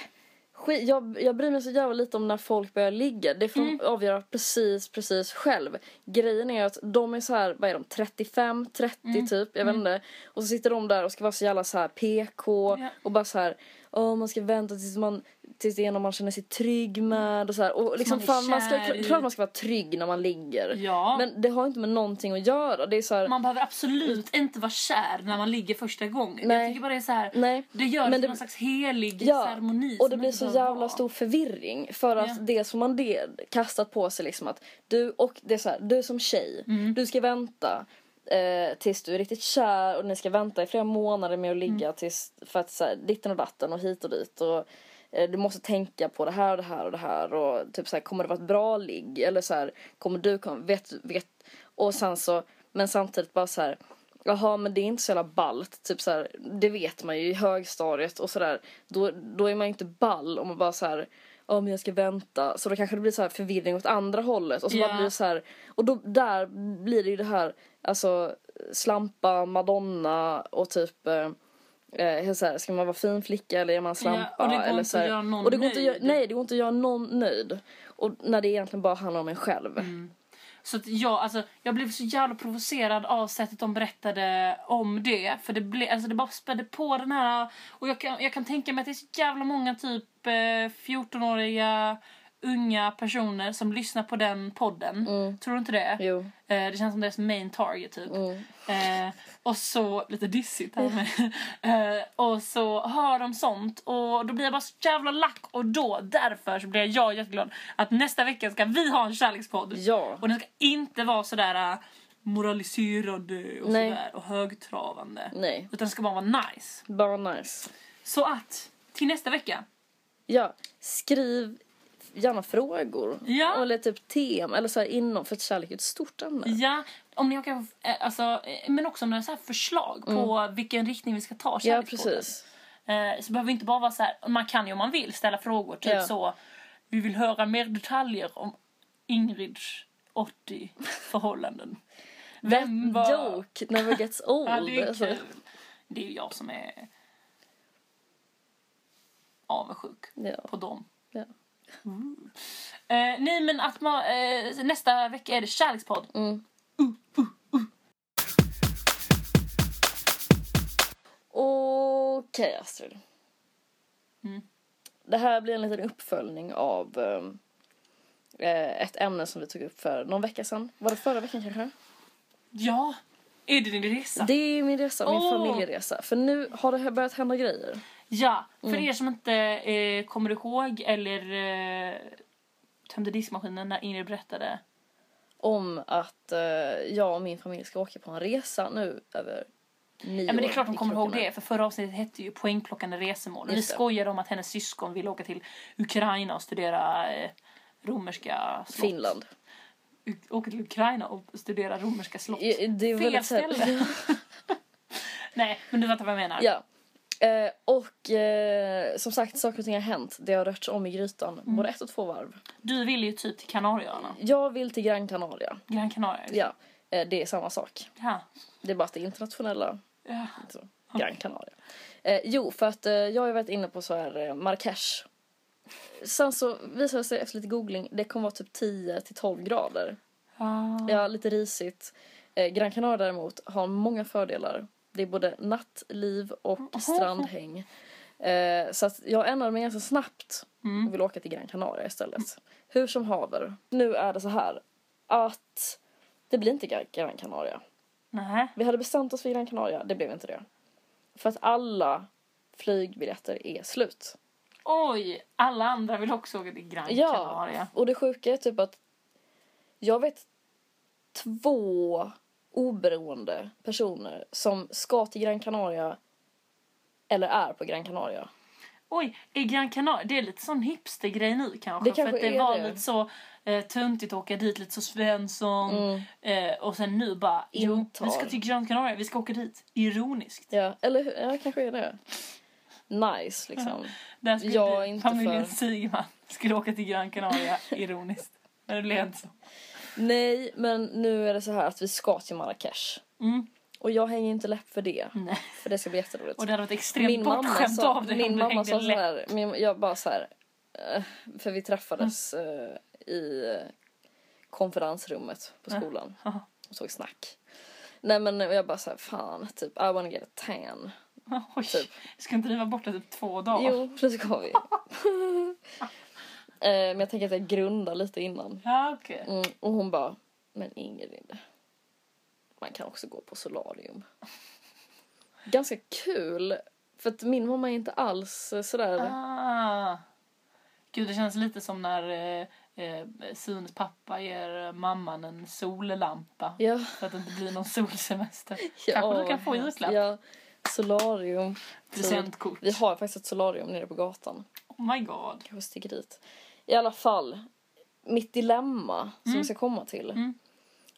[SPEAKER 2] skit, jag, jag bryr mig så jävla lite om när folk börjar ligga. Det får
[SPEAKER 1] Mm.
[SPEAKER 2] de avgöra precis, precis själv. Grejen är att de är så här, vad är de, 35, 30
[SPEAKER 1] Mm.
[SPEAKER 2] typ, jag vet inte. Och så sitter de där och ska vara så jävla så här PK
[SPEAKER 1] Ja.
[SPEAKER 2] och bara så här, åh man ska vänta tills man tills det är någon man känner sig trygg med och så här. Och liksom
[SPEAKER 1] man är
[SPEAKER 2] fan, man ska,
[SPEAKER 1] kär i.
[SPEAKER 2] klart man ska vara trygg när man ligger.
[SPEAKER 1] Ja.
[SPEAKER 2] Men det har inte med någonting att göra. Det är så här,
[SPEAKER 1] Man behöver absolut inte vara kär när man ligger första gången.
[SPEAKER 2] Nej.
[SPEAKER 1] Jag tycker bara det är så här,
[SPEAKER 2] nej.
[SPEAKER 1] det gör
[SPEAKER 2] Men
[SPEAKER 1] det
[SPEAKER 2] det-
[SPEAKER 1] till någon slags helig ceremoni.
[SPEAKER 2] Och
[SPEAKER 1] som
[SPEAKER 2] det blir
[SPEAKER 1] inte
[SPEAKER 2] så
[SPEAKER 1] behöver
[SPEAKER 2] jävla
[SPEAKER 1] vara.
[SPEAKER 2] stor förvirring för att
[SPEAKER 1] Ja.
[SPEAKER 2] det som man det kastat på sig liksom att du och det är så här, du som tjej,
[SPEAKER 1] Mm.
[SPEAKER 2] du ska vänta eh, tills du är riktigt kär och ni ska vänta i flera månader med att ligga
[SPEAKER 1] Mm.
[SPEAKER 2] tills för att så här, ditten och datten och hit och dit och eh, du måste tänka på det här och det här och det här och typ så här kommer det vara ett bra ligg eller så här kommer du komma vet vet och sen så men samtidigt bara så här Jaha, men det är inte så jävla ballt. Typ så här, det vet man ju i högstadiet och sådär. Då, då är man ju inte ball om man bara så här, ja men jag ska vänta. Så då kanske det blir så här förvirring åt andra hållet. Och så
[SPEAKER 1] Ja.
[SPEAKER 2] bara blir det så här, och då, där blir det ju det här, alltså slampa, madonna och typ eh, eh, så här, ska man vara fin flicka eller är man slampa?
[SPEAKER 1] och det går
[SPEAKER 2] eller
[SPEAKER 1] inte
[SPEAKER 2] så här,
[SPEAKER 1] att göra någon
[SPEAKER 2] och det går inte att göra,
[SPEAKER 1] nöjd.
[SPEAKER 2] Nej, det går inte att göra någon nöjd. Och när det egentligen bara handlar om en själv.
[SPEAKER 1] Mm. Så att jag, alltså, jag blev så jävla provocerad av sättet de berättade om det. För det, ble, alltså, det bara spädde på den här... Och jag kan, jag kan tänka mig att det är så jävla många typ eh, 14-åriga unga personer som lyssnar på den podden. Tror du inte det?
[SPEAKER 2] Jo.
[SPEAKER 1] Eh, det känns som deras main target typ.
[SPEAKER 2] Mm.
[SPEAKER 1] Eh, och så, lite dissigt här med. Eh, och så hör de sånt och då blir jag bara så jävla lack och då, därför så blir jag jätteglad att nästa vecka ska vi ha en kärlekspodd.
[SPEAKER 2] Ja.
[SPEAKER 1] Och den ska inte vara sådär äh, moraliserande och
[SPEAKER 2] Nej.
[SPEAKER 1] sådär och högtravande.
[SPEAKER 2] Nej.
[SPEAKER 1] Utan den ska bara vara nice.
[SPEAKER 2] Bara nice.
[SPEAKER 1] Så att, till nästa vecka.
[SPEAKER 2] Ja, skriv gärna frågor.
[SPEAKER 1] Ja.
[SPEAKER 2] Eller typ tem, eller så här inom, för att kärlek är ett stort ämne.
[SPEAKER 1] Ja, om ni har kanske, eh, alltså, eh, men också om ni har så här förslag på vilken riktning vi ska ta
[SPEAKER 2] Mm. Ja,
[SPEAKER 1] kärlekspodden.
[SPEAKER 2] precis.
[SPEAKER 1] Eh, så behöver vi inte bara vara så här, man kan ju om man vill ställa frågor. Typ
[SPEAKER 2] Ja.
[SPEAKER 1] så, vi vill höra mer detaljer om Ingrids 80 förhållanden.
[SPEAKER 2] <laughs>
[SPEAKER 1] Vem var...
[SPEAKER 2] Joke never gets
[SPEAKER 1] <laughs>
[SPEAKER 2] old.
[SPEAKER 1] Ja, det är
[SPEAKER 2] alltså.
[SPEAKER 1] kul. Det är ju jag som är avundsjuk
[SPEAKER 2] Ja.
[SPEAKER 1] på dem.
[SPEAKER 2] Ja.
[SPEAKER 1] Eh, nej, men att man, eh, nästa vecka är det kärlekspodd.
[SPEAKER 2] Mm. Okej, Astrid.
[SPEAKER 1] Mm.
[SPEAKER 2] Det här blir en liten uppföljning av ehm, eh, ett ämne som vi tog upp för någon vecka sedan. Var det förra veckan kanske?
[SPEAKER 1] Ja, är det din resa?
[SPEAKER 2] Det är min resa, min
[SPEAKER 1] Åh!
[SPEAKER 2] familjeresa. För nu har det här börjat hända grejer.
[SPEAKER 1] Ja, för
[SPEAKER 2] Mm.
[SPEAKER 1] er som inte eh, kommer ihåg eller eh, tömde diskmaskinen när Ingrid berättade.
[SPEAKER 2] om att eh, jag och min familj ska åka på en resa nu över nio
[SPEAKER 1] Ja, men det är klart
[SPEAKER 2] år
[SPEAKER 1] de
[SPEAKER 2] i
[SPEAKER 1] kommer ihåg
[SPEAKER 2] krokarna.
[SPEAKER 1] det, för förra avsnittet hette ju poängplockande resemål. Och vi
[SPEAKER 2] Just det.
[SPEAKER 1] skojade om att hennes syskon ville åka till Ukraina och studera eh, romerska slott.
[SPEAKER 2] Finland.
[SPEAKER 1] U- åka till Ukraina och studera romerska slott.
[SPEAKER 2] Ja, det är
[SPEAKER 1] Fel
[SPEAKER 2] väldigt så här-
[SPEAKER 1] ställe! <laughs> Nej, men du fattar vad jag menar.
[SPEAKER 2] <laughs> ja. Eh, och eh, som sagt, saker och ting har hänt. Det har rört sig om i grytan.
[SPEAKER 1] Mm.
[SPEAKER 2] Både ett och två varv.
[SPEAKER 1] Du vill ju typ till Kanarieöarna.
[SPEAKER 2] Jag vill till Gran Canaria.
[SPEAKER 1] Gran Canaria.
[SPEAKER 2] Ja, eh, det är samma sak.
[SPEAKER 1] Ja.
[SPEAKER 2] Det är bara att det är internationella
[SPEAKER 1] Ja.
[SPEAKER 2] så, Gran Canaria. Eh, jo, för att eh, jag har ju varit inne på så här eh, Marrakesh. Sen så visade det sig efter lite googling, det kommer vara typ 10 till 12 grader.
[SPEAKER 1] Ja.
[SPEAKER 2] Ja, lite risigt. Eh, Gran Canaria däremot har många fördelar. Det är både nattliv och strandhäng. Eh, så att jag ändrade mig ganska snabbt
[SPEAKER 1] Mm.
[SPEAKER 2] och vill åka till Gran Canaria istället. Hur som haver. Nu är det så här att det blir inte Gran- Gran Canaria.
[SPEAKER 1] Nej.
[SPEAKER 2] Vi hade bestämt oss för Gran Canaria, det blev inte det. För att alla flygbiljetter är slut.
[SPEAKER 1] Oj! Alla andra vill också åka till Gran
[SPEAKER 2] Ja,
[SPEAKER 1] Canaria.
[SPEAKER 2] och det sjuka är typ att jag vet två oberoende personer som ska till Gran Canaria eller är på Gran Canaria.
[SPEAKER 1] Oj, är Gran Canaria, det är lite sån hipstergrej nu kanske.
[SPEAKER 2] Det kanske
[SPEAKER 1] för att det
[SPEAKER 2] är
[SPEAKER 1] var
[SPEAKER 2] det.
[SPEAKER 1] lite så eh, tuntigt att åka dit, lite så Svensson.
[SPEAKER 2] Mm.
[SPEAKER 1] Eh, och sen nu bara, jo,
[SPEAKER 2] Intar.
[SPEAKER 1] vi ska till Gran Canaria, vi ska åka dit. Ironiskt.
[SPEAKER 2] Ja, eller hur? Ja, kanske är det. Nice, liksom.
[SPEAKER 1] <laughs> Där skulle
[SPEAKER 2] Jag är
[SPEAKER 1] du,
[SPEAKER 2] inte
[SPEAKER 1] familjen
[SPEAKER 2] för-
[SPEAKER 1] Sigman skulle åka till Gran
[SPEAKER 2] <laughs>
[SPEAKER 1] Canaria, ironiskt. Men det blev inte så.
[SPEAKER 2] Nej, men nu är det så här att vi ska till Marrakesh.
[SPEAKER 1] Mm.
[SPEAKER 2] Och jag hänger inte läpp för det,
[SPEAKER 1] Nej.
[SPEAKER 2] för det ska bli jätteroligt.
[SPEAKER 1] Och det hade varit extremt
[SPEAKER 2] min mamma
[SPEAKER 1] bortskämt
[SPEAKER 2] sa,
[SPEAKER 1] av dig om
[SPEAKER 2] min
[SPEAKER 1] du
[SPEAKER 2] mamma
[SPEAKER 1] hängde
[SPEAKER 2] sa så
[SPEAKER 1] lätt.
[SPEAKER 2] här, min, jag bara så här, eh, för vi träffades eh, i eh, konferensrummet på
[SPEAKER 1] Ja.
[SPEAKER 2] skolan
[SPEAKER 1] Ja.
[SPEAKER 2] och tog snack. Nej men jag bara så här, fan, typ I wanna get a tan.
[SPEAKER 1] <laughs> Oj,
[SPEAKER 2] Typ.
[SPEAKER 1] ska inte ni vara borta typ två dagar?
[SPEAKER 2] Jo, det ska vi. <laughs> Eh, men jag tänker att jag grundar lite innan.
[SPEAKER 1] Ja, okej.
[SPEAKER 2] Mm, och hon bara, men Ingrid, man kan också gå på solarium. Ganska kul, för att min mamma är inte alls eh, sådär...
[SPEAKER 1] Ah. Gud, det känns lite som när eh, eh, Sunes pappa ger eh, mamman en sollampa.
[SPEAKER 2] Ja.
[SPEAKER 1] Så att det inte blir någon solsemester.
[SPEAKER 2] <laughs> Ja,
[SPEAKER 1] Kanske du kan få i julklapp.
[SPEAKER 2] Ja, solarium.
[SPEAKER 1] Presentkort.
[SPEAKER 2] Vi har faktiskt ett solarium nere på gatan.
[SPEAKER 1] Oh my god.
[SPEAKER 2] Kanske sticker dit. I alla fall, mitt dilemma som vi ska komma till.
[SPEAKER 1] Mm.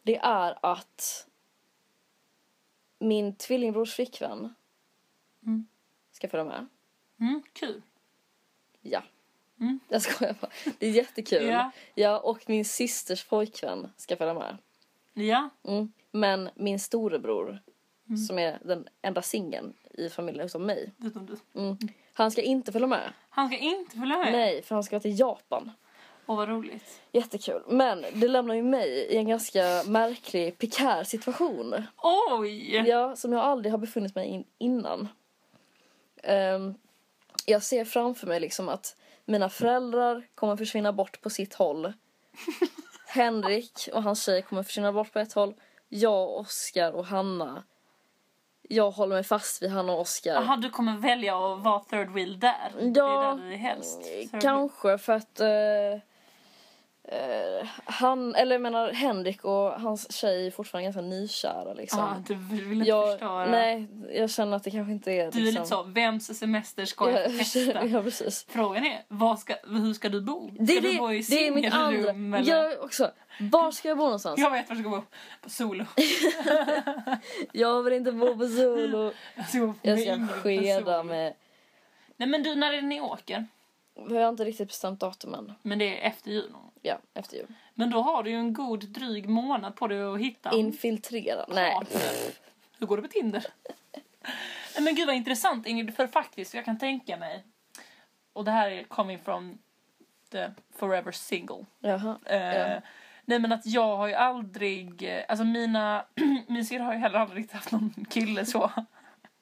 [SPEAKER 2] Det är att min tvillingbrors flickvän
[SPEAKER 1] Mm.
[SPEAKER 2] ska följa med.
[SPEAKER 1] Mm, kul.
[SPEAKER 2] Ja.
[SPEAKER 1] Mm.
[SPEAKER 2] Jag skojar bara. Det är jättekul.
[SPEAKER 1] Ja.
[SPEAKER 2] ja, och min systers pojkvän ska följa med.
[SPEAKER 1] Ja.
[SPEAKER 2] Mm. Men min storebror,
[SPEAKER 1] Mm.
[SPEAKER 2] som är den enda singeln i familjen utom mig,
[SPEAKER 1] Utom du.
[SPEAKER 2] mm. han ska inte följa med.
[SPEAKER 1] Han ska inte följa med.
[SPEAKER 2] Nej, för han ska till Japan.
[SPEAKER 1] Åh vad roligt.
[SPEAKER 2] Jättekul. Men det lämnar ju mig i en ganska märklig, pikär situation.
[SPEAKER 1] Oj!
[SPEAKER 2] Ja, som jag aldrig har befunnit mig in innan. Ehm, jag ser framför mig liksom att mina föräldrar kommer försvinna bort på sitt <laughs> håll. Henrik och hans tjej kommer försvinna bort på ett håll. Jag, Oskar och Hanna. Jag håller mig fast vid Hanna och Oskar.
[SPEAKER 1] Jaha, du kommer välja att vara third wheel där. det
[SPEAKER 2] Ja,
[SPEAKER 1] är där du är helst. Third wheel.
[SPEAKER 2] Kanske för att eh, eh, han, eller jag menar Henrik och hans tjej är fortfarande ganska nykära liksom.
[SPEAKER 1] Ah, du vill inte förstöra.
[SPEAKER 2] jag, nej, jag känner att det kanske inte är liksom-
[SPEAKER 1] du är lite så, vems semester ska jag
[SPEAKER 2] ja, <laughs>
[SPEAKER 1] testa?
[SPEAKER 2] ja, precis.
[SPEAKER 1] Frågan är, vad ska, hur ska du bo? Ska
[SPEAKER 2] Det, är
[SPEAKER 1] du
[SPEAKER 2] det,
[SPEAKER 1] bo i
[SPEAKER 2] det är mitt
[SPEAKER 1] singelrum
[SPEAKER 2] andra.
[SPEAKER 1] eller?
[SPEAKER 2] Jag också. Var ska jag bo någonstans?
[SPEAKER 1] Jag vet var jag ska bo. På
[SPEAKER 2] <laughs>
[SPEAKER 1] solo.
[SPEAKER 2] Jag vill inte bo
[SPEAKER 1] <laughs>
[SPEAKER 2] på solo.
[SPEAKER 1] Jag ska, bo på
[SPEAKER 2] Jag
[SPEAKER 1] min
[SPEAKER 2] ska
[SPEAKER 1] på
[SPEAKER 2] skeda
[SPEAKER 1] solo.
[SPEAKER 2] med...
[SPEAKER 1] Nej men du, när är det ni åker?
[SPEAKER 2] Vi har inte riktigt bestämt datum än.
[SPEAKER 1] Men det är efter jul. någon gång.
[SPEAKER 2] Ja, efter jul.
[SPEAKER 1] Men då har du ju en god dryg månad på dig att hitta en
[SPEAKER 2] Infiltrera. Nej.
[SPEAKER 1] partner. Hur går det med Tinder? <laughs> Nej, men gud vad intressant Ingrid, för faktiskt jag kan tänka mig, och det här är coming from the forever single.
[SPEAKER 2] Jaha.
[SPEAKER 1] Eh,
[SPEAKER 2] Ja.
[SPEAKER 1] Nej men att jag har ju aldrig, eh, alltså mina, <clears throat> min syrra har ju heller aldrig riktigt haft någon kille så.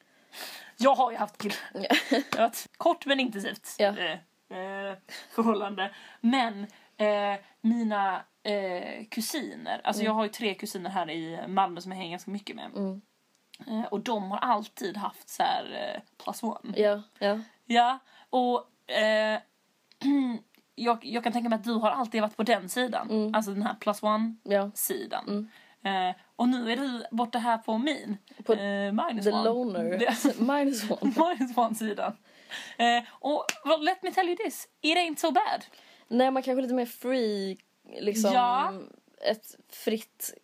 [SPEAKER 1] <laughs> Jag har ju haft kille.
[SPEAKER 2] Ja.
[SPEAKER 1] Det har varit kort men intensivt
[SPEAKER 2] Ja.
[SPEAKER 1] eh, eh, förhållande. Men eh, mina eh, kusiner, alltså jag har ju tre kusiner här i Malmö som jag hänger ganska mycket med.
[SPEAKER 2] Mm.
[SPEAKER 1] Eh, och de har alltid haft så här eh, plus one.
[SPEAKER 2] Ja, ja.
[SPEAKER 1] Ja, och eh, <clears throat> jag, jag kan tänka mig att du har alltid varit på den sidan.
[SPEAKER 2] Mm.
[SPEAKER 1] Alltså den här plus
[SPEAKER 2] ja.
[SPEAKER 1] one-sidan. Eh, och nu är du borta här på min.
[SPEAKER 2] På
[SPEAKER 1] eh, minus
[SPEAKER 2] The
[SPEAKER 1] one. <laughs>
[SPEAKER 2] loner.
[SPEAKER 1] Det-
[SPEAKER 2] Minus one.
[SPEAKER 1] minus one-sidan. Eh, och well, let me tell you this, it ain't so bad.
[SPEAKER 2] Nej, man kanske är lite mer free. Liksom,
[SPEAKER 1] Ja.
[SPEAKER 2] Ett fritt...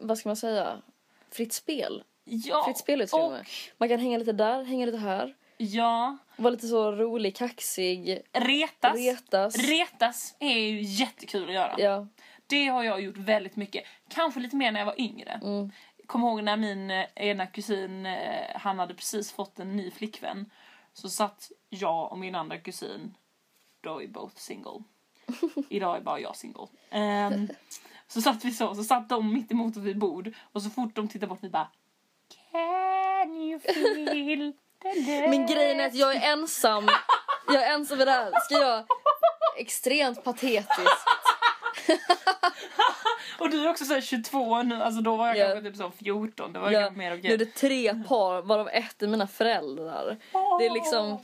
[SPEAKER 2] Vad ska man säga? Fritt spel.
[SPEAKER 1] Ja,
[SPEAKER 2] Fritt spel skulle jag
[SPEAKER 1] och,
[SPEAKER 2] med. Man kan hänga lite där, hänga lite här.
[SPEAKER 1] ja,
[SPEAKER 2] Vara lite så rolig, kaxig,
[SPEAKER 1] retas.
[SPEAKER 2] retas.
[SPEAKER 1] Retas är ju jättekul att göra.
[SPEAKER 2] ja.
[SPEAKER 1] Det har jag gjort väldigt mycket. Kanske lite mer när jag var yngre.
[SPEAKER 2] Mm.
[SPEAKER 1] Kom ihåg när min eh, ena kusin, eh, han hade precis fått en ny flickvän. Så satt jag och min andra kusin, då är both
[SPEAKER 2] <laughs>
[SPEAKER 1] single. Idag är bara jag single. Ehm, så satt vi så, så satt de mitt emot oss vid bord och så fort de tittade bort vi bara Can you feel the love?
[SPEAKER 2] <laughs> Men grejen är att jag
[SPEAKER 1] <laughs>
[SPEAKER 2] är ensam. Jag är ensam med det här. Ska jag... Extremt patetiskt.
[SPEAKER 1] Och du är också såhär 22 nu, alltså då var jag
[SPEAKER 2] Ja.
[SPEAKER 1] kanske typ så 14, det var
[SPEAKER 2] Jag
[SPEAKER 1] kanske mer okej.
[SPEAKER 2] Nu är det tre par, varav ett är mina föräldrar. Det är liksom...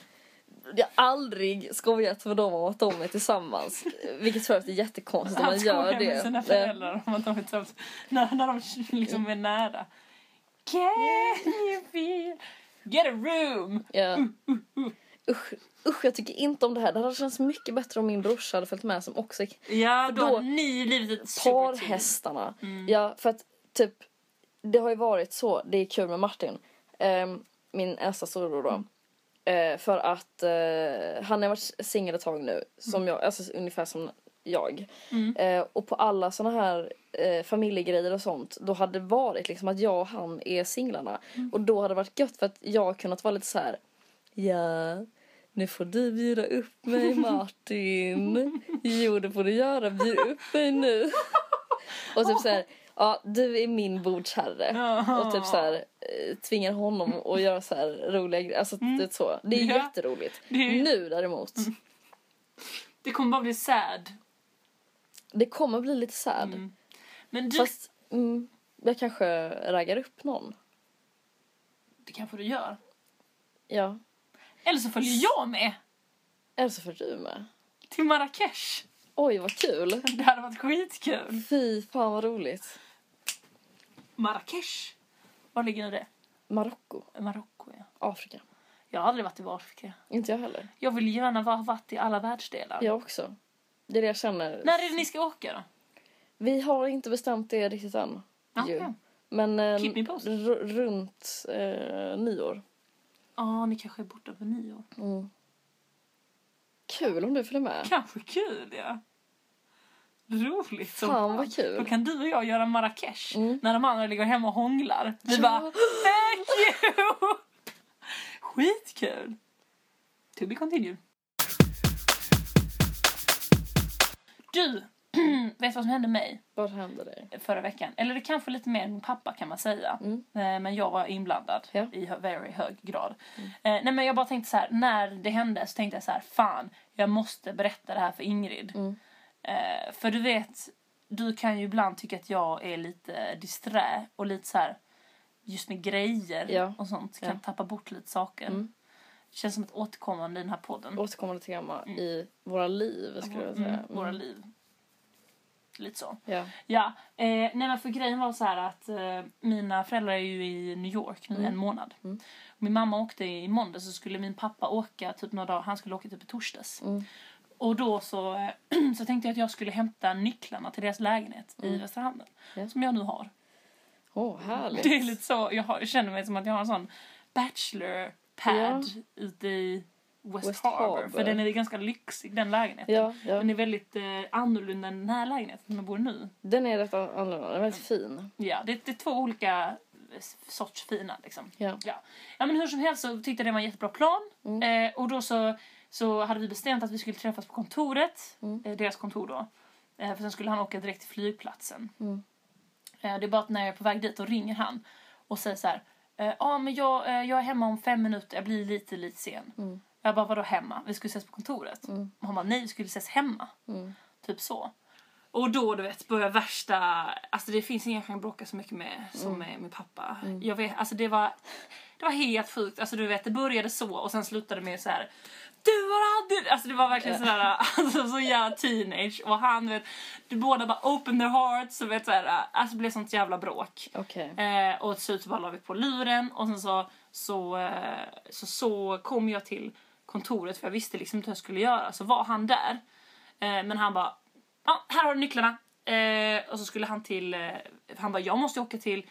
[SPEAKER 2] Jag har aldrig skojat med dem om att de är tillsammans. Vilket för övrigt är jättekonstigt om man
[SPEAKER 1] Han skojar
[SPEAKER 2] gör
[SPEAKER 1] med
[SPEAKER 2] det.
[SPEAKER 1] sina
[SPEAKER 2] det.
[SPEAKER 1] föräldrar om att de är tillsammans. När, när de liksom är nära. Can you feel? Get a room!
[SPEAKER 2] Ja.
[SPEAKER 1] mm,
[SPEAKER 2] Usch, usch, jag tycker inte om det här. Det hade känts mycket bättre om min brorsa hade följt med som också gick
[SPEAKER 1] Ja, då,
[SPEAKER 2] då-
[SPEAKER 1] har ni blivit ett superteam.
[SPEAKER 2] parhästarna.
[SPEAKER 1] Mm.
[SPEAKER 2] Ja, för att typ det har ju varit så. Det är kul med Martin. ehm, min äldsta storebror då.
[SPEAKER 1] Mm.
[SPEAKER 2] Eh, för att eh, han har varit singel ett tag nu. Som
[SPEAKER 1] Mm.
[SPEAKER 2] jag, alltså ungefär som jag. Eh, och på alla såna här eh, familjegrejer och sånt. Då hade det varit liksom att jag och han är singlarna. Och då hade det varit gött för att jag har kunnat vara lite så här. Ja, nu får du bjuda upp mig Martin. Jo, det får du göra. Bjud upp mig nu. Och typ så här, ja, du är min bordsherre. Och typ så här, eh, tvingar honom att göra så här roliga grejer. Alltså, det, är så. det är
[SPEAKER 1] Ja. Mm.
[SPEAKER 2] jätteroligt.
[SPEAKER 1] Det är-
[SPEAKER 2] Nu däremot,
[SPEAKER 1] Det kommer bara bli sad.
[SPEAKER 2] det kommer bli lite sad.
[SPEAKER 1] Mm. Men du,
[SPEAKER 2] Fast mm, jag kanske raggar upp någon.
[SPEAKER 1] det kanske du gör.
[SPEAKER 2] Ja.
[SPEAKER 1] Eller så följer jag med
[SPEAKER 2] Eller så får du med.
[SPEAKER 1] till Marrakesh.
[SPEAKER 2] Oj, vad kul.
[SPEAKER 1] Det hade varit skitkul.
[SPEAKER 2] Fy fan vad roligt.
[SPEAKER 1] Marrakesh? Var ligger det?
[SPEAKER 2] Marocko,
[SPEAKER 1] Marocko, ja.
[SPEAKER 2] Afrika.
[SPEAKER 1] Jag har aldrig varit i Afrika.
[SPEAKER 2] Inte jag heller.
[SPEAKER 1] Jag vill gärna ha varit i alla världsdelar.
[SPEAKER 2] Jag också. Det är det jag känner.
[SPEAKER 1] När är det ni ska åka då?
[SPEAKER 2] Vi har inte bestämt det riktigt än.
[SPEAKER 1] Okej.
[SPEAKER 2] ju. Men eh,
[SPEAKER 1] Keep me posted.
[SPEAKER 2] r- runt eh, nyår.
[SPEAKER 1] Ja, ni kanske är borta på nyår.
[SPEAKER 2] Mm. Kul om du följer med.
[SPEAKER 1] Kanske kul, ja. Roligt som
[SPEAKER 2] Fan vad
[SPEAKER 1] Då
[SPEAKER 2] kul.
[SPEAKER 1] kan du och jag göra Marrakesh
[SPEAKER 2] Mm.
[SPEAKER 1] när de andra ligger hemma och hånglar. Vi
[SPEAKER 2] Ja.
[SPEAKER 1] bara Thank you! Skitkul! To be continued. Du, <clears throat> vet du vad som hände mig
[SPEAKER 2] Vad hände dig?
[SPEAKER 1] förra veckan? Eller det kanske lite mer än min pappa kan man säga.
[SPEAKER 2] Mm.
[SPEAKER 1] Eh, Men jag var inblandad
[SPEAKER 2] Ja. Mm.
[SPEAKER 1] i hö- very hög grad. Eh, nej men jag bara tänkte så här, när det hände så tänkte jag så här, fan, jag måste berätta det här för Ingrid.
[SPEAKER 2] Mm.
[SPEAKER 1] Eh, för du vet, du kan ju ibland tycka att jag är lite disträ och lite så här, just med grejer
[SPEAKER 2] Ja.
[SPEAKER 1] och sånt, kan
[SPEAKER 2] Ja.
[SPEAKER 1] tappa bort lite saker.
[SPEAKER 2] Mm.
[SPEAKER 1] Känns som ett återkommande i den här podden.
[SPEAKER 2] återkommande tema
[SPEAKER 1] Mm.
[SPEAKER 2] i våra liv skulle jag säga.
[SPEAKER 1] Mm, våra
[SPEAKER 2] Mm.
[SPEAKER 1] liv. Lite så.
[SPEAKER 2] Ja.
[SPEAKER 1] Ja, eh, nej men för grejen var så här att eh, mina föräldrar är ju i New York nu i
[SPEAKER 2] Mm.
[SPEAKER 1] en månad.
[SPEAKER 2] Mm.
[SPEAKER 1] Min mamma åkte i måndag så skulle min pappa åka typ några dagar, han skulle åka typ i torsdags.
[SPEAKER 2] Mm.
[SPEAKER 1] Och då så, eh, <clears throat> så tänkte jag att jag skulle hämta nycklarna till deras lägenhet i
[SPEAKER 2] Mm.
[SPEAKER 1] Västra Hamnen.
[SPEAKER 2] Ja.
[SPEAKER 1] Som jag nu har.
[SPEAKER 2] Åh, härligt.
[SPEAKER 1] Det är lite så, jag, har, jag känner mig som att jag har en sån bachelor-pad ute i West,
[SPEAKER 2] West
[SPEAKER 1] Harbor.
[SPEAKER 2] Harbor.
[SPEAKER 1] För den är ganska lyxig den lägenheten.
[SPEAKER 2] Ja, ja.
[SPEAKER 1] Den är väldigt eh, annorlunda än den här lägenheten som jag bor i nu.
[SPEAKER 2] Den är rätt annorlunda, den är väldigt fin.
[SPEAKER 1] Ja, det, det är två olika eh, sorts fina liksom.
[SPEAKER 2] Ja.
[SPEAKER 1] Ja. ja men hur som helst så tyckte jag det var en jättebra plan.
[SPEAKER 2] Mm.
[SPEAKER 1] Eh, och då så, så hade vi bestämt att vi skulle träffas på kontoret,
[SPEAKER 2] Mm.
[SPEAKER 1] eh, deras kontor då. Eh, för sen skulle han åka direkt till flygplatsen.
[SPEAKER 2] Mm.
[SPEAKER 1] Eh, det är bara att när jag är på väg dit då ringer han och säger så här. Ja eh, ah, men jag, eh, jag är hemma om fem minuter, jag blir lite lite sen.
[SPEAKER 2] Mm.
[SPEAKER 1] Jag bara vadå hemma? Vi skulle ses på kontoret.
[SPEAKER 2] Mm.
[SPEAKER 1] Och han bara nej vi skulle ses hemma.
[SPEAKER 2] Mm.
[SPEAKER 1] Typ så. Och då du vet börjar värsta, alltså det finns ingen jag kan bråka så mycket med som med min pappa. Jag vet, alltså det var, det var helt sjukt. Alltså du vet det började så och sen slutade med så här. Du har aldrig, alltså det var verkligen sådär, <laughs> alltså så jävla teenage och han vet, du båda bara open their hearts och vet såhär, alltså det blev sånt jävla bråk.
[SPEAKER 2] Okej.
[SPEAKER 1] Eh, och till slut så bara la vi på luren och sen så, så, eh, så, så kom jag till kontoret för jag visste liksom inte hur jag skulle göra. Så var han där. Eh, men han bara, ja här har du nycklarna. Eh, och så skulle han till, eh, han bara jag måste åka till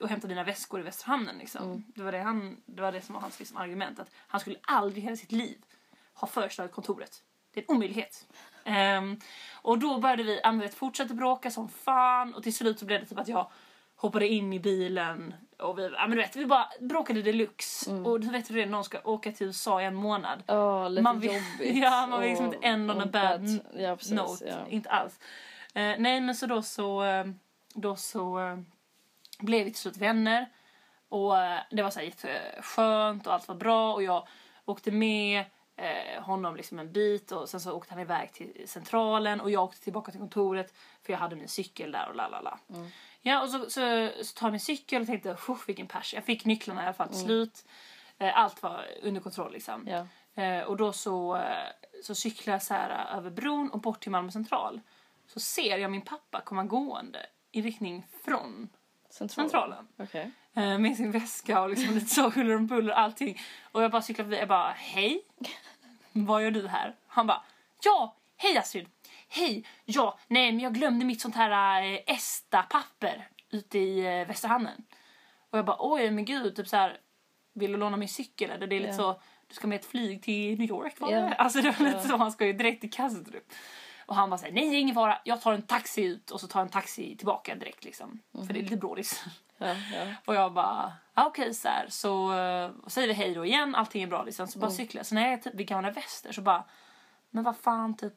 [SPEAKER 1] och hämta dina väskor i Västra hamnen liksom. Det, var det, han, det var det som var hans liksom, argument att han skulle aldrig i hela sitt liv ha förstört kontoret. Det är en omöjlighet. Ehm, och då började vi ja, men vet, fortsätta bråka som fan och till slut så blev det typ att jag hoppade in i bilen och vi, ja, men du vet, vi bara bråkade deluxe. Och du vet hur det är när någon ska åka till USA i en månad.
[SPEAKER 2] Ja, lite
[SPEAKER 1] Man vill-
[SPEAKER 2] jobbigt.
[SPEAKER 1] <laughs> Ja, man vill
[SPEAKER 2] och-
[SPEAKER 1] liksom inte end on a
[SPEAKER 2] och
[SPEAKER 1] bad
[SPEAKER 2] Ja, precis.
[SPEAKER 1] note.
[SPEAKER 2] Ja.
[SPEAKER 1] Inte alls. Eh, nej men så då så, eh, då så eh, blev vi till slut vänner. Och eh, det var så här jätteskönt och allt var bra och jag åkte med eh, honom liksom en bit och sen så åkte han iväg till centralen och jag åkte tillbaka till kontoret för jag hade min cykel där och la la la.
[SPEAKER 2] Mm.
[SPEAKER 1] Ja och så, så, så tar jag min cykel och tänkte "Fuh, vilken pers. Jag fick nycklarna i alla fall till slut. Eh, Allt var under kontroll liksom.
[SPEAKER 2] Mm. Ja.
[SPEAKER 1] Eh, och då så, eh, så cyklar jag så här eh, över bron och bort till Malmö central. Så ser jag min pappa komma gående i riktning från
[SPEAKER 2] Central.
[SPEAKER 1] centralen.
[SPEAKER 2] Okej.
[SPEAKER 1] Eh, med sin väska och liksom lite så huller om buller och allting. Och jag bara cyklar förbi. Jag bara, hej. Vad gör du här? Han bara, ja, hej Astrid. Hej, ja, nej men jag glömde mitt sånt här eh, ESTA-papper ute i eh, Västerhamnen. Och jag bara, oj men gud, typ så här, vill du låna min cykel eller? Det är lite
[SPEAKER 2] Ja.
[SPEAKER 1] så, du ska med ett flyg till New York va?
[SPEAKER 2] Ja.
[SPEAKER 1] <laughs> Alltså det var lite
[SPEAKER 2] Ja.
[SPEAKER 1] så, han ska ju direkt till Kastrup. Och han bara säger nej det är ingen fara, jag tar en taxi ut och så tar jag en taxi tillbaka direkt liksom. För det är lite brådis.
[SPEAKER 2] Ja, ja.
[SPEAKER 1] Och jag bara, ah, okej så här. Så eh, och säger vi hej då igen, allting är bra liksom. Så bara cyklar jag. Så när jag är typ vid Gamla Väster så bara, men vad fan typ,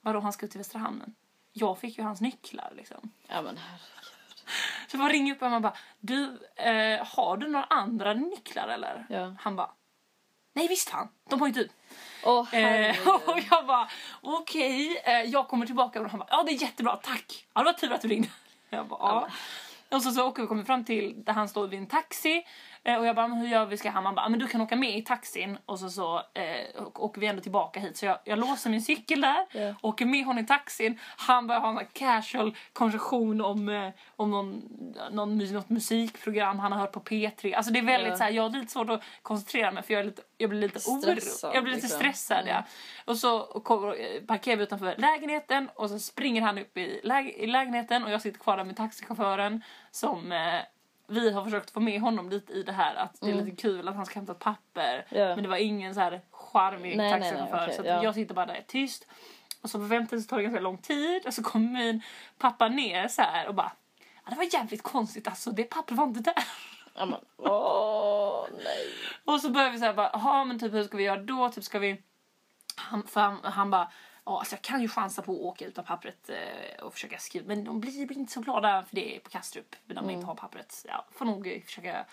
[SPEAKER 1] vadå han ska ut till Västra Hamnen? Jag fick ju hans nycklar liksom.
[SPEAKER 2] Ja, men herregud.
[SPEAKER 1] Så jag bara ringer upp honom och bara, du, eh, har du några andra nycklar eller?
[SPEAKER 2] Ja.
[SPEAKER 1] Han bara, nej visst han, de har ju typ du.
[SPEAKER 2] Åh, herregud.
[SPEAKER 1] Eh, <laughs> och jag bara, okej, eh, jag kommer tillbaka. Och han bara, ja det är jättebra, tack. Ja, det var tur att du ringde. <laughs> Jag bara, ja. Och så, så åker vi kommer fram till där han står vid en taxi. Eh, och jag bara, men hur gör vi? Ska han? Han bara, men du kan åka med i taxin. Och så, så eh, å- åker vi ändå tillbaka hit. Så jag, jag låser min cykel där,
[SPEAKER 2] Ja.
[SPEAKER 1] åker med honom i taxin. Han börjar ha en sån här casual konversation om, eh, om någon, någon, mus- något musikprogram han har hört på P3. Alltså det är väldigt
[SPEAKER 2] Ja.
[SPEAKER 1] så här, jag har lite svårt att koncentrera mig för jag, är lite, jag blir lite
[SPEAKER 2] Stressad,
[SPEAKER 1] oro. Jag blir lite
[SPEAKER 2] liksom.
[SPEAKER 1] stressad ja. Och så kommer, eh, parkerar vi utanför lägenheten och så springer han upp i, läge, i lägenheten och jag sitter kvar där med taxichauffören som eh, vi har försökt få med honom dit i det här att det är lite kul att han ska hämta ett papper.
[SPEAKER 2] Mm. Ja.
[SPEAKER 1] Men det var ingen så här charmig
[SPEAKER 2] Nej, nej, nej,
[SPEAKER 1] taxichaufför
[SPEAKER 2] okej,
[SPEAKER 1] så att
[SPEAKER 2] ja.
[SPEAKER 1] jag sitter bara där tyst. Och så på väntan så tar det ganska lång tid och så kommer min pappa ner så här och bara Ja, det var jävligt konstigt alltså, det pappret var inte där. <laughs>
[SPEAKER 2] Ja, men, åh, nej.
[SPEAKER 1] Och så börjar vi så här bara, jaha men typ hur ska vi göra då? Typ ska vi... Han, för han, han bara, ja alltså jag kan ju chansa på att åka utan pappret eh, och försöka skriva. Men de blir blir inte så glada för det på Kastrup när man inte har pappret. Ja, får nog eh, försöka...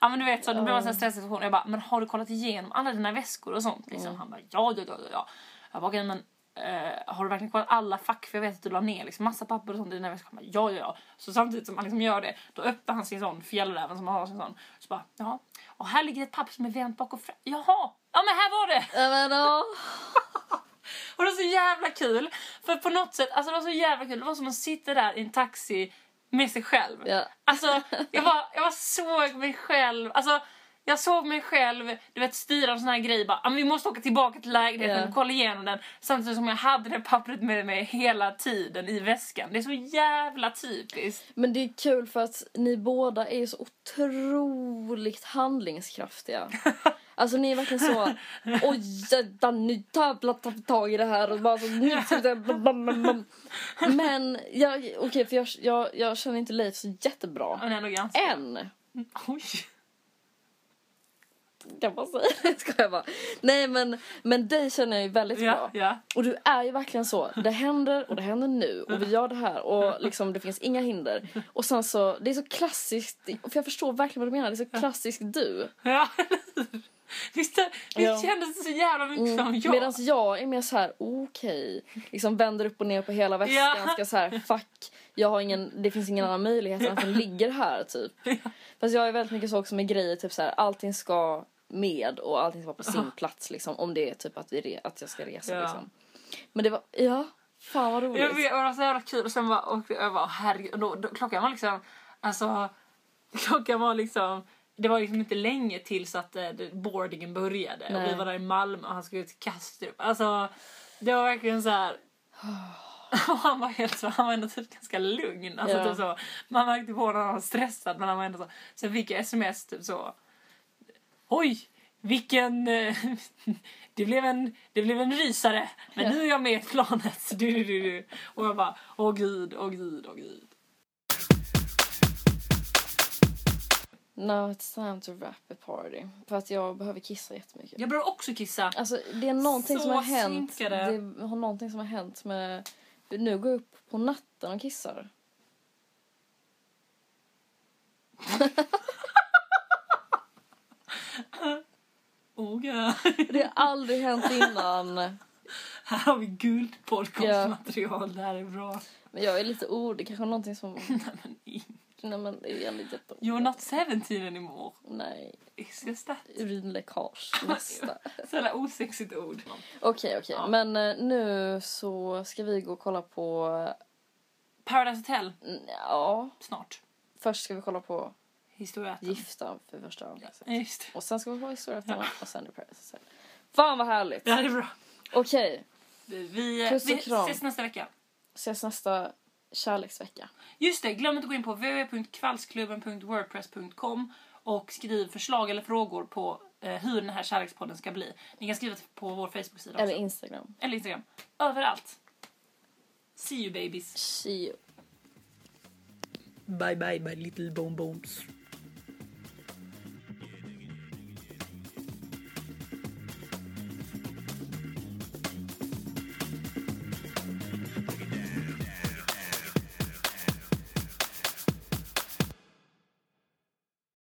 [SPEAKER 1] Ja men du vet så, då blir man så här stressad situation. Jag bara, men har du kollat igenom alla dina väskor och sånt? Liksom. Han bara, ja ja ja ja, ja. Jag bara, okej men eh, har du verkligen kollat alla fack? För jag vet att du la ner liksom, massa papper och sånt i dina väskor. Han bara, ja ja ja. Så samtidigt som han liksom gör det, då öppnar han sin sån fjällräven som han har sin sån. Så bara, ja. Och här ligger ett papper som är vänt bak och fram. Jaha! Ja men här var det!
[SPEAKER 2] Ja, men, åh.
[SPEAKER 1] Och det var så jävla kul. För på något sätt, alltså det var så jävla kul. Det var som att sitta där i en taxi med sig själv.
[SPEAKER 2] Ja.
[SPEAKER 1] Alltså jag,
[SPEAKER 2] <laughs>
[SPEAKER 1] var, jag var såg mig själv. Alltså jag såg mig själv, du vet styra en sån här grej bara, "Ah, men vi måste åka tillbaka till lägenheten
[SPEAKER 2] Ja.
[SPEAKER 1] och kolla igenom den. Samtidigt som jag hade det pappret med mig hela tiden i väskan. Det är så jävla typiskt.
[SPEAKER 2] men det är kul för att ni båda är ju så
[SPEAKER 1] <laughs>
[SPEAKER 2] otroligt handlingskraftiga. Alltså ni är verkligen så, oj jävlar nu jävlar tar vi tag i det här och bara så nu ska vi ta- bam, bam, bam, bam." Men jag, okej för jag, jag, jag känner inte Leif så jättebra.
[SPEAKER 1] Men ändå ganska...
[SPEAKER 2] Än.
[SPEAKER 1] Oj!
[SPEAKER 2] kan man säga <laughs> det? Ska jag bara. Nej men, men dig känner jag ju väldigt
[SPEAKER 1] Ja,
[SPEAKER 2] bra.
[SPEAKER 1] ja.
[SPEAKER 2] Och du är ju verkligen så, det händer och det händer nu och vi gör det här och liksom det finns inga hinder. Och sen så, det är så klassiskt, för jag förstår verkligen vad du menar, det är så klassiskt du.
[SPEAKER 1] Ja, <laughs> eller hur? Visst, det
[SPEAKER 2] Ja.
[SPEAKER 1] visst kändes det så jävla mycket som jag?
[SPEAKER 2] Mm. Medan jag är mer så här, okej, liksom vänder upp och ner på hela väskan,
[SPEAKER 1] Ja.
[SPEAKER 2] ska så här, fuck, jag har ingen, det finns ingen annan möjlighet än att den ligger här typ. Fast jag är väldigt mycket så också med grejer, typ så här, allting ska med och allting ska vara på sin plats liksom, om det är typ att, vi re, att jag ska resa
[SPEAKER 1] Ja.
[SPEAKER 2] liksom. Men det var, ja, fan vad roligt.
[SPEAKER 1] Jag vet, och det var så jävla kul. Och sen bara, och jag bara herregud. Och Då, då, klockan var liksom, alltså, <laughs> klockan var liksom, det var liksom inte länge tills att eh, det- boardingen började.
[SPEAKER 2] Nej.
[SPEAKER 1] Och vi var där i Malmö och han skulle till Kastrup. Alltså, det var verkligen så här. <laughs> Och han var helt så, han var ändå typ ganska lugn. Alltså,
[SPEAKER 2] Ja.
[SPEAKER 1] typ så. Man märkte på honom att han var stressad men han var ändå så. Sen fick jag sms typ så. Oj! Vilken... eh, <laughs> Det blev en, det blev en rysare. Men nu är jag med i planet. Du, du, du, du. Och jag bara, åh gud, åh gud, åh gud.
[SPEAKER 2] Now it's time to wrap a party. För att jag behöver kissa jättemycket.
[SPEAKER 1] Jag börjar också kissa.
[SPEAKER 2] Alltså det är någonting
[SPEAKER 1] Så
[SPEAKER 2] som har hänt.
[SPEAKER 1] synkade.
[SPEAKER 2] Det har någonting som har hänt med... Nu går jag upp på natten och kissar.
[SPEAKER 1] Åh gud.
[SPEAKER 2] Det har aldrig hänt
[SPEAKER 1] <laughs>
[SPEAKER 2] innan.
[SPEAKER 1] Här har vi gult podcastmaterial. Det här är bra. <laughs>
[SPEAKER 2] Men jag är lite orolig. Kanske någonting som...
[SPEAKER 1] Men in-
[SPEAKER 2] Nej men det är ändå jätteoroligt.
[SPEAKER 1] You're not 17 anymore.
[SPEAKER 2] Nej.
[SPEAKER 1] Is just that?
[SPEAKER 2] Urinläckage.
[SPEAKER 1] <laughs>
[SPEAKER 2] Nästa.
[SPEAKER 1] Så jävla osexigt ord.
[SPEAKER 2] Okej okej.
[SPEAKER 1] Ja.
[SPEAKER 2] Men eh, nu så ska vi gå och kolla på...
[SPEAKER 1] Paradise Hotel.
[SPEAKER 2] mm, Ja.
[SPEAKER 1] Snart.
[SPEAKER 2] Först ska vi kolla på
[SPEAKER 1] Historieätarna.
[SPEAKER 2] Gifta för första gången.
[SPEAKER 1] Ja, just
[SPEAKER 2] <laughs>
[SPEAKER 1] det.
[SPEAKER 2] Och sen ska vi ha historia efter och sen The Paradise Hotel. Fan vad härligt!
[SPEAKER 1] Det här är bra.
[SPEAKER 2] Okej,
[SPEAKER 1] Vi, vi,
[SPEAKER 2] Puss och
[SPEAKER 1] vi
[SPEAKER 2] kram.
[SPEAKER 1] ses nästa vecka.
[SPEAKER 2] ses nästa kärleksvecka.
[SPEAKER 1] Just det, glöm inte att gå in på www.kvällsklubben.wordpress.com och skriv förslag eller frågor på eh, hur den här kärlekspodden ska bli. Ni kan skriva på vår Facebook-sida
[SPEAKER 2] Eller
[SPEAKER 1] också.
[SPEAKER 2] Instagram.
[SPEAKER 1] Eller Instagram. Överallt. See you babies.
[SPEAKER 2] Shio.
[SPEAKER 1] Bye bye my little bonbons.